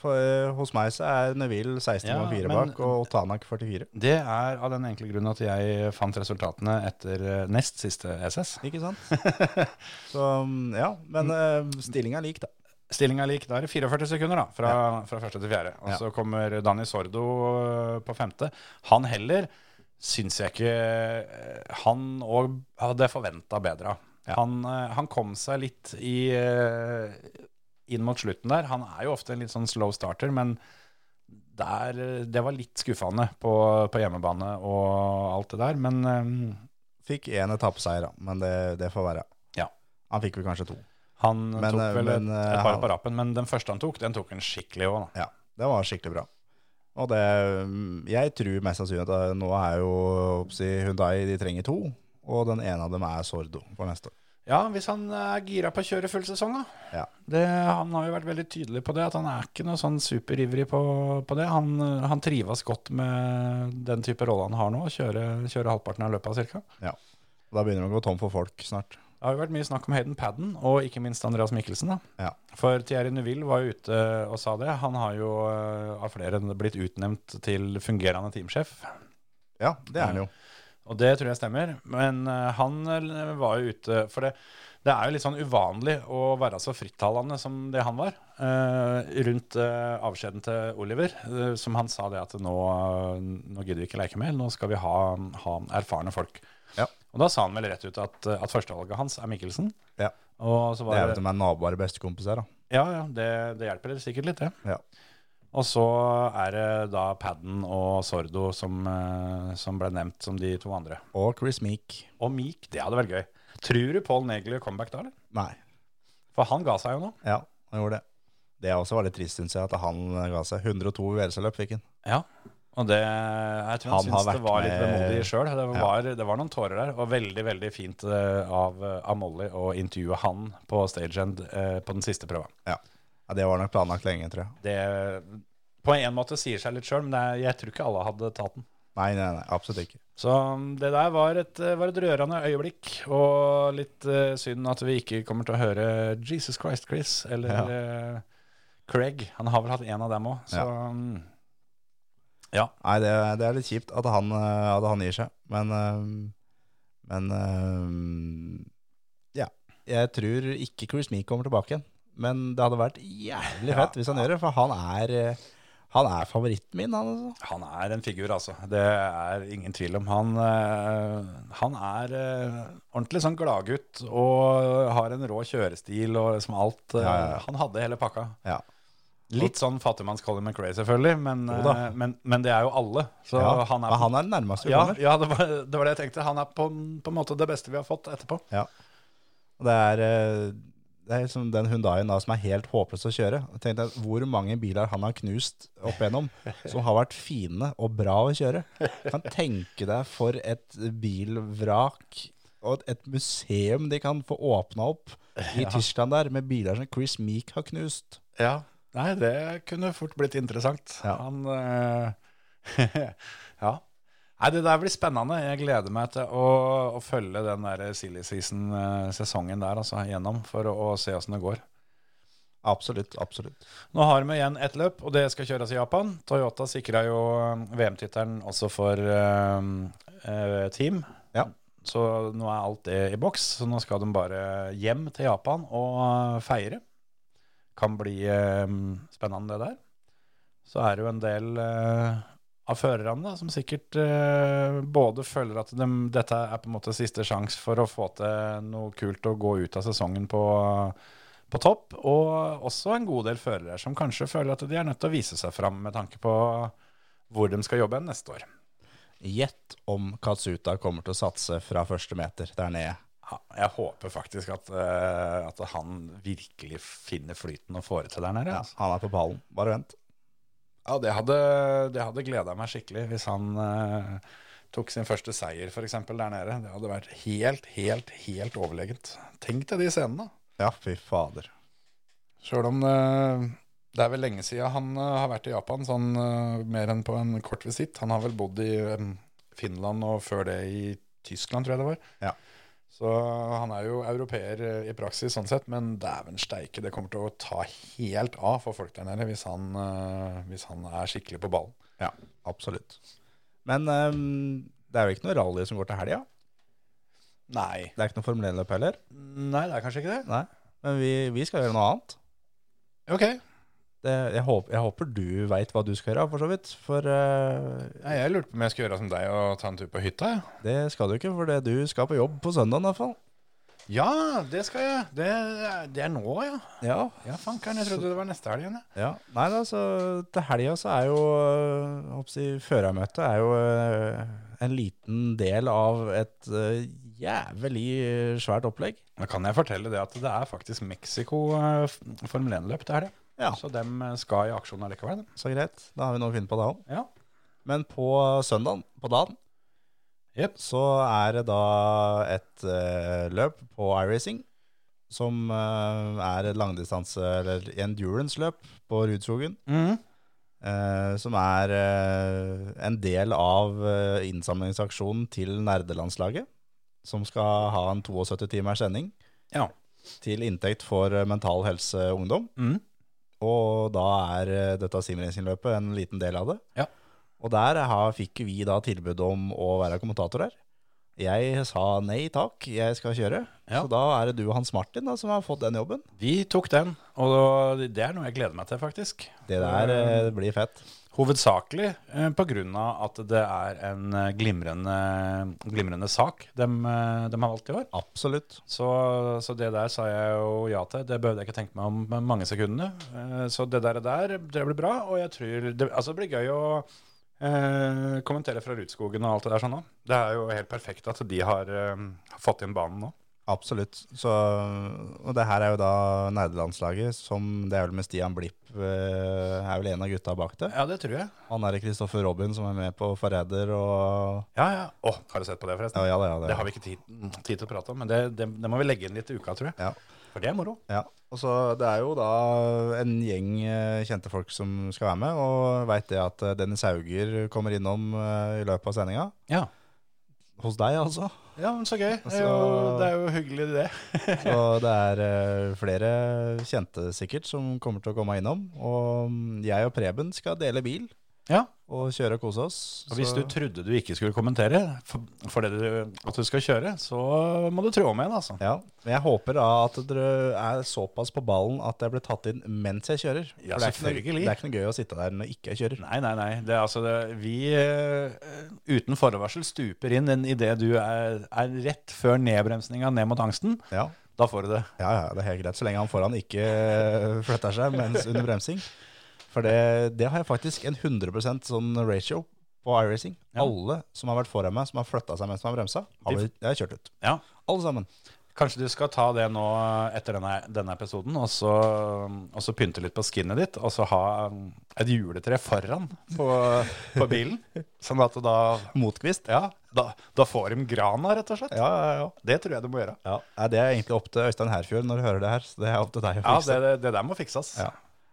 Speaker 4: For eh, hos meg så er Neville 16,4
Speaker 3: Ja, men-
Speaker 4: bak og Tanak 44.
Speaker 3: Det er av den enkle grunn at jeg fant resultatene etter eh, nest siste SS.
Speaker 4: Ikke sant? så mm, ja, men uh, stillinga er lik, da.
Speaker 3: Stillinga er lik. Da er det 44 sekunder da, fra, fra første til fjerde. Og
Speaker 4: Ja.
Speaker 3: så kommer Dani Sordo øh, på femte. Han heller syns jeg ikke øh, Han òg hadde forventa bedre av. Han, øh, han kom seg litt i øh, inn mot slutten der. Han er jo ofte en litt sånn slow starter, men der, øh, det var litt skuffende på, på hjemmebane og alt det der. Men øh,
Speaker 4: Fikk én etappeseier, da, men det, det får være.
Speaker 3: Ja.
Speaker 4: Han fikk vel kanskje to.
Speaker 3: han
Speaker 4: Men,
Speaker 3: tok
Speaker 4: øh,
Speaker 3: vel
Speaker 4: men,
Speaker 3: et,
Speaker 4: øh,
Speaker 3: et par
Speaker 4: han-
Speaker 3: på rappen, men den første han tok, den tok han skikkelig òg, da.
Speaker 4: Ja, det var skikkelig bra. Og det, mm, jeg tror mest sannsynlig at det- nå er jo si, Hyundai, de trenger to. Og den ene av dem er Sordo for neste år.
Speaker 3: Ja, hvis han er gira på å kjøre full sesong, da.
Speaker 4: Ja.
Speaker 3: Det, han har jo vært veldig tydelig på det, at han er ikke noe sånn superivrig på, på det. Han, eh, han trives godt med den type rolle han har nå, å kjøre, kjøre halvparten av løpet cirka.
Speaker 4: Ja. Og da begynner de å gå tom for folk snart.
Speaker 3: Det har jo vært mye snakk om Hayden Padden, og ikke minst Andreas Mikkelsen. da.
Speaker 4: Ja.
Speaker 3: For Thierry Neuville var jo ute og sa det. Han har jo eh, av flere blitt utnevnt til fungerende teamsjef.
Speaker 4: Ja, det er han jo.
Speaker 3: Og det tror jeg stemmer. Men eh, han eh, var jo ute For det, det er jo litt sånn uvanlig å være så frittalende som det han var. eh, rundt eh, avskjeden til Oliver, eh, som han sa det at nå, nå gidder vi ikke leke mer, nå skal vi ha, ha erfarne folk.
Speaker 4: Ja.
Speaker 3: Og da sa han vel rett ut at, eh, at førstevalget hans er Mikkelsen.
Speaker 4: Ja.
Speaker 3: Og så
Speaker 4: Det er
Speaker 3: var
Speaker 4: jo at
Speaker 3: det,
Speaker 4: de er naboer og bestekompiser, da.
Speaker 3: ja, ja, det, det hjelper sikkert litt, det.
Speaker 4: Ja.
Speaker 3: Og så er det da Padden og Sordo som, eh, som ble nevnt som de to andre.
Speaker 4: Og Chris Meek.
Speaker 3: Og Meek, det hadde vært gøy. Tror du Paul Negli gjør comeback da, eller?
Speaker 4: Nei.
Speaker 3: For han ga seg jo nå.
Speaker 4: Ja, han gjorde det. Det også var litt trist, syns jeg, at han ga seg. 102 VRC-løp fikk han.
Speaker 3: Ja. Og det, jeg tror
Speaker 4: Han
Speaker 3: han,
Speaker 4: har
Speaker 3: syntes det
Speaker 4: vært
Speaker 3: var litt
Speaker 4: med-
Speaker 3: vemodig sjøl. Det,
Speaker 4: Ja.
Speaker 3: var- det var noen tårer der. Og veldig, veldig fint eh, av, av Molly å intervjue han på stageend eh, på den siste prøva.
Speaker 4: Ja. ja, det var nok planlagt lenge, tror jeg.
Speaker 3: Det på en måte sier seg litt sjøl, men det, er- jeg tror ikke alle hadde tatt den.
Speaker 4: Nei, nei, nei, absolutt ikke.
Speaker 3: Så um, det der var et, eh, var et rørende øyeblikk, og litt eh, synd at vi ikke kommer til å høre Jesus Christ Chris eller
Speaker 4: Ja.
Speaker 3: eh, Craig. Han har vel hatt en av dem òg, så
Speaker 4: Ja.
Speaker 3: um,
Speaker 4: Nei, det, det er litt kjipt at han, eh, at han gir seg, men eh, Men eh, Ja. Jeg tror ikke Chris Meek kommer tilbake igjen, men det hadde vært jævlig
Speaker 3: Ja.
Speaker 4: fett hvis han gjør det, for han er eh, Han er favoritten min, han altså.
Speaker 3: Han er en figur, altså. Det er ingen tvil om. Han, eh, han er eh, ordentlig sånn gladgutt og har en rå kjørestil og liksom alt. eh,
Speaker 4: Ja, ja, ja.
Speaker 3: Han hadde hele pakka.
Speaker 4: Ja.
Speaker 3: Litt sånn fattigmanns-Colin McRae, selvfølgelig, men,
Speaker 4: Jo da.
Speaker 3: eh, men, men det er jo alle. Så
Speaker 4: Ja,
Speaker 3: han
Speaker 4: men
Speaker 3: er,
Speaker 4: han er den nærmeste vi
Speaker 3: ja,
Speaker 4: kommer.
Speaker 3: ja det, var, det var det jeg tenkte. Han er på, på en måte det beste vi har fått etterpå.
Speaker 4: Ja. Og Det er, eh, det er liksom den Hyundaien da, som er helt håpløs å kjøre. Jeg tenkte at Hvor mange biler han har knust opp igjennom, som har vært fine og bra å kjøre. Kan tenke deg for et bilvrak og et- et museum de kan få åpna opp i Tyskland der, med biler som Chris Meek har knust.
Speaker 3: Ja. Nei, det kunne fort blitt interessant.
Speaker 4: Ja.
Speaker 3: Han eh, Ja. Nei, det der blir spennende. Jeg gleder meg til å, å følge den der silly season-sesongen der altså, gjennom for å, å se åssen det går.
Speaker 4: Absolutt, absolutt.
Speaker 3: Nå har vi igjen ett løp, og det skal kjøres i Japan. Toyota sikra jo eh, VM-tittelen også for eh, eh, team.
Speaker 4: Ja.
Speaker 3: Så nå er alt det i boks. Så nå skal de bare hjem til Japan og eh, feire. Kan bli eh, spennende, det der. Så er det jo en del eh, av førerne da, som sikkert eh, både føler at dem- dette er på en måte siste sjanse for å få til noe kult og gå ut av sesongen på på topp, og også en god del førere som kanskje føler at de er nødt til å vise seg fram med tanke på hvor de skal jobbe neste år.
Speaker 4: Gjett om Katsuta kommer til å satse fra første meter der nede.
Speaker 3: Ja, jeg håper faktisk at, eh, at han virkelig finner flyten og får det til der nede.
Speaker 4: Ja,
Speaker 3: altså.
Speaker 4: han er på pallen. Bare vent.
Speaker 3: Ja, det hadde, det hadde gleda meg skikkelig hvis han eh, tok sin første seier f.eks. der nede. Det hadde vært helt, helt, helt overlegent. Tenk deg de scenene.
Speaker 4: Ja, fy fader.
Speaker 3: Sjøl om eh, det er vel lenge siden han eh, har vært i Japan, sånn eh, mer enn på en kort visitt. Han har vel bodd i eh, Finland og før det i Tyskland, tror jeg det var.
Speaker 4: Ja.
Speaker 3: Så han er jo europeer eh, i praksis sånn sett, men dæven steike, det kommer til å ta helt av for folk der nede hvis han, eh, hvis han er skikkelig på ballen.
Speaker 4: Ja, absolutt. Men ehm, det er jo ikke noe rally som går til helga.
Speaker 3: Nei.
Speaker 4: Det er ikke noe Formel 1-løp heller.
Speaker 3: Nei, det er kanskje ikke det.
Speaker 4: Nei. Men vi, vi skal gjøre noe annet.
Speaker 3: Ok.
Speaker 4: Det, jeg, håper, jeg håper du veit hva du skal gjøre, for så vidt. For eh,
Speaker 3: Nei, jeg lurte på om jeg skulle gjøre som deg og ta en tur på hytta. Ja.
Speaker 4: det skal du ikke, for det du skal på jobb på søndag i hvert fall.
Speaker 3: ja, det skal jeg. Det, det er nå, ja.
Speaker 4: Ja.
Speaker 3: Ja, fankeren. Jeg trodde det var neste helg igjen. jeg.
Speaker 4: ja. Nei da, så til helga så er jo eh, jeg håper å si, Førermøtet er jo eh, en liten del av et eh, jævlig eh, svært opplegg.
Speaker 3: Da kan jeg fortelle det at det er faktisk Mexico eh, f- Formel 1-løp det er det.
Speaker 4: Ja.
Speaker 3: Så dem eh, skal i aksjon allikevel. dem.
Speaker 4: Så greit, da har vi noe å finne på da òg.
Speaker 3: Ja.
Speaker 4: Men på søndagen, på dagen,
Speaker 3: Jep.
Speaker 4: så er det da et eh, løp på iRacing, som eh, er et langdistanse- eller endurance-løp på Rudskogen, eh, som er eh, en del av eh, innsamlingsaksjonen til nerdelandslaget, som skal ha en 72 timers sending
Speaker 3: Ja.
Speaker 4: til inntekt for eh, Mental Helse Ungdom.
Speaker 3: Mhm.
Speaker 4: Og da er eh, dette simracing-løpet en liten del av det.
Speaker 3: Ja.
Speaker 4: Og der har, fikk vi da tilbud om å være kommentator her. Jeg sa nei takk, jeg skal kjøre.
Speaker 3: Ja.
Speaker 4: Så da er det du og Hans Martin da, som har fått den jobben.
Speaker 3: Vi tok den, og det er noe jeg gleder meg til, faktisk.
Speaker 4: Det der eh, blir fett.
Speaker 3: Hovedsakelig eh, på grunn av at det er en eh, glimrende, glimrende sak de, har valgt i år.
Speaker 4: Absolutt.
Speaker 3: Så, så det der sa jeg jo ja til. Det behøvde jeg ikke tenke meg om med mange sekundene. Eh, Så det der, der det blir bra, og jeg tror det, altså det blir gøy å eh, kommentere fra Rudskogen og alt det der sånn òg. Det er jo helt perfekt at de har eh, fått inn banen nå.
Speaker 4: Absolutt. Så, og det her er jo da nerdelandslaget, som det er vel med Stian Blipp, eh, er vel en av gutta bak det.
Speaker 3: Ja, det tror jeg.
Speaker 4: Han er Kristoffer Robin som er med på Forræder og
Speaker 3: Ja, ja. Å, har du sett på det, forresten?
Speaker 4: Ja, ja, da, ja,
Speaker 3: Det har vi ikke tid, tid til å prate om, men det, det, det må vi legge inn litt i uka, tror jeg.
Speaker 4: Ja.
Speaker 3: For det er moro.
Speaker 4: Ja, og så det er jo da en gjeng eh, kjente folk som skal være med, og veit det at eh, Dennis Hauger kommer innom eh, i løpet av sendinga.
Speaker 3: Ja.
Speaker 4: Hos deg, altså.
Speaker 3: Ja, men så gøy. Det er jo,
Speaker 4: Altså-
Speaker 3: det er jo hyggelig, det.
Speaker 4: Så det er eh, flere kjente sikkert som kommer til å komme innom. Og mm, jeg og Preben skal dele bil
Speaker 3: Ja.
Speaker 4: og kjøre og kose oss.
Speaker 3: Og hvis
Speaker 4: Så-
Speaker 3: du trodde du ikke skulle kommentere for, for det du, at du skal kjøre, så må du trå om igjen, altså.
Speaker 4: Ja, men jeg håper da at dere er såpass på ballen at jeg blir tatt inn mens jeg kjører.
Speaker 3: Ja,
Speaker 4: For det er ikke noe-
Speaker 3: selvfølgelig.
Speaker 4: Det er ikke noe gøy å sitte der når ikke jeg kjører.
Speaker 3: Nei, nei, nei. Det er altså det, vi eh, uten forvarsel stuper inn en idé du er, er rett før nedbremsninga ned mot angsten.
Speaker 4: Ja.
Speaker 3: Da får du det.
Speaker 4: ja, ja, det er helt greit. Så lenge han foran ikke eh, flytter seg mens under bremsing. For det, det har jeg faktisk en 100 sånn ratio på iRacing.
Speaker 3: Ja.
Speaker 4: Alle som har vært foran meg, som har flytta seg mens de har bremsa, har
Speaker 3: De-
Speaker 4: blitt, jeg har kjørt ut.
Speaker 3: Ja.
Speaker 4: Alle sammen.
Speaker 3: Kanskje du skal ta det nå etter denne, denne episoden, og så, og så pynte litt på skinnet ditt, og så ha um, et juletre foran på, på bilen. Sånn at da
Speaker 4: Motkvist.
Speaker 3: Ja, da, da får de grana, rett og slett.
Speaker 4: Ja, ja, ja.
Speaker 3: Det tror jeg du må gjøre.
Speaker 4: ja. Nei, Det er egentlig opp til Øystein Herfjord når du hører det her. Så det er opp til deg å
Speaker 3: Ja,
Speaker 4: fikse.
Speaker 3: det, det, det der må fikses.
Speaker 4: Ja.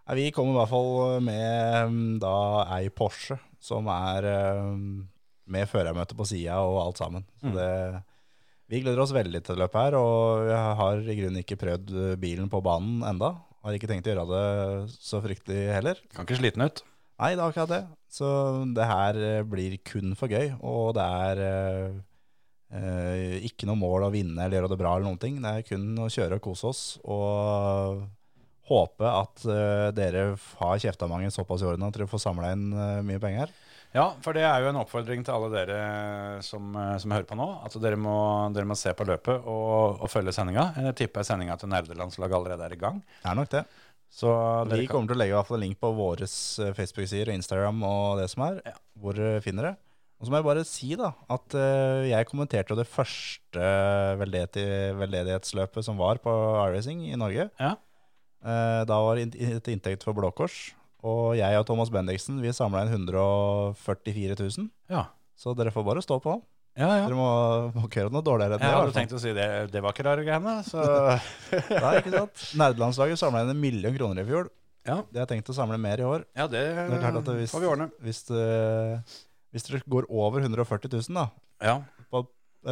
Speaker 4: Nei, Vi kommer i hvert fall eh, med mm, da ei Porsche som er mm, med førermøte på sida og alt sammen. Så det, vi gleder oss veldig til løpet her, og jeg har i grunnen ikke prøvd eh, bilen på banen enda. Har ikke tenkt å gjøre det så fryktelig heller.
Speaker 3: Kan ikke slite den ut.
Speaker 4: Nei, det er akkurat det. Så det her eh, blir kun for gøy, og det er eh, eh, ikke noe mål å vinne eller gjøre det bra eller noen ting. Det er kun å kjøre og kose oss, og håpe at eh, dere har kjefta mange såpass i årene at dere får samla inn eh, mye penger her.
Speaker 3: Ja, for det er jo en oppfordring til alle dere som, eh, som hører på nå, at dere må, dere må se på løpet og, og følge sendinga. Jeg tipper sendinga til nerdelandslaget allerede er i gang.
Speaker 4: Det er nok det.
Speaker 3: Så
Speaker 4: Vi
Speaker 3: dere kan,
Speaker 4: kommer til å legge i hvert fall en link på våre Facebook-sider og Instagram og det som er, hvor dere finner det. Og så må jeg bare si da, at eh, jeg kommenterte jo det første veldedi- veldedighetsløpet som var på iRacing i Norge.
Speaker 3: Ja.
Speaker 4: Eh, Da var det in- et inntekt for Blå Kors. Og jeg og Thomas Bendiksen vi samla inn 144 000.
Speaker 3: ja.
Speaker 4: Så dere får bare stå på.
Speaker 3: Ja, ja.
Speaker 4: Dere må, må ikke gjøre noe dårligere
Speaker 3: Jeg
Speaker 4: enn det. i
Speaker 3: hadde
Speaker 4: hvert fall.
Speaker 3: tenkt å si det. sånn. Det var ikke rare greiene. Så
Speaker 4: Nei, ikke sant? Nerdelandslaget samla inn en million kroner i fjor.
Speaker 3: Ja.
Speaker 4: De har tenkt å samle mer i år.
Speaker 3: ja, det,
Speaker 4: Det er klart at hvis,
Speaker 3: Eh, får vi ordne.
Speaker 4: Hvis, det- hvis dere går over 140 000 da,
Speaker 3: Ja.
Speaker 4: på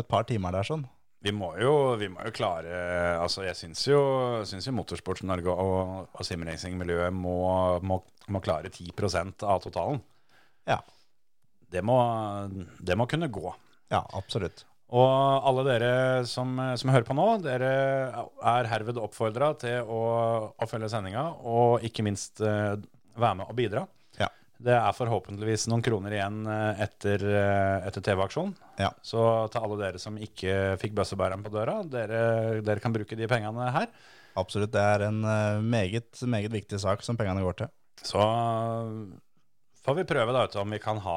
Speaker 4: et par timer der sånn,
Speaker 3: Vi må jo, vi må jo klare Altså, jeg syns jo, syns jo Motorsports-Norge og, og simracing-miljøet må, må, må klare 10 av totalen.
Speaker 4: Ja.
Speaker 3: Det må, det må kunne gå.
Speaker 4: ja, absolutt.
Speaker 3: Og alle dere som, som hører på nå, dere er herved oppfordra til å, å følge sendinga, og ikke minst eh, være med og bidra.
Speaker 4: Ja.
Speaker 3: Det er forhåpentligvis noen kroner igjen eh, etter, eh, etter TV-aksjonen.
Speaker 4: Ja.
Speaker 3: Så til alle dere som ikke fikk bøssebæreren på døra, dere, dere kan bruke de pengene her.
Speaker 4: Absolutt, det er en eh, meget, meget viktig sak som pengene går til.
Speaker 3: Så får vi prøve da, vet du, om vi kan ha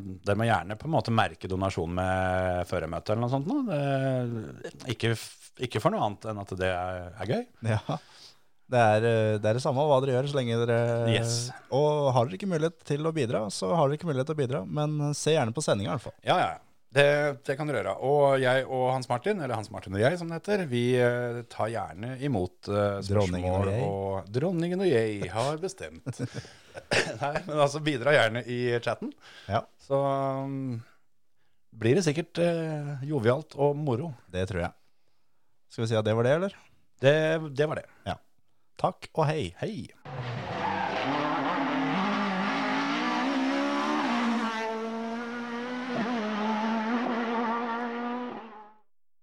Speaker 3: Dere må gjerne på en måte merke donasjon med førermøte eller noe sånt. nå. Det, ikke, f- ikke for noe annet enn at det er, er gøy.
Speaker 4: Ja. Det er, eh, det er det samme hva dere gjør, så lenge dere
Speaker 3: Yes.
Speaker 4: Og har dere ikke mulighet til å bidra, så har dere ikke mulighet til å bidra. Men se gjerne på sendinga, i hvert fall.
Speaker 3: Ja, ja. Det, det kan dere gjøre. Og jeg og Hans Martin, eller Hans Martin og jeg som det heter, vi eh, tar gjerne imot eh,
Speaker 4: Dronningen og
Speaker 3: spørsmål
Speaker 4: jeg.
Speaker 3: og Dronningen og jeg har bestemt. Nei, men altså bidra gjerne i chatten.
Speaker 4: Ja.
Speaker 3: Så um, blir det sikkert eh, jovialt og moro.
Speaker 4: Det tror jeg. Skal vi si at det var det, eller?
Speaker 3: Det, det var det.
Speaker 4: Takk og hei.
Speaker 3: Hei.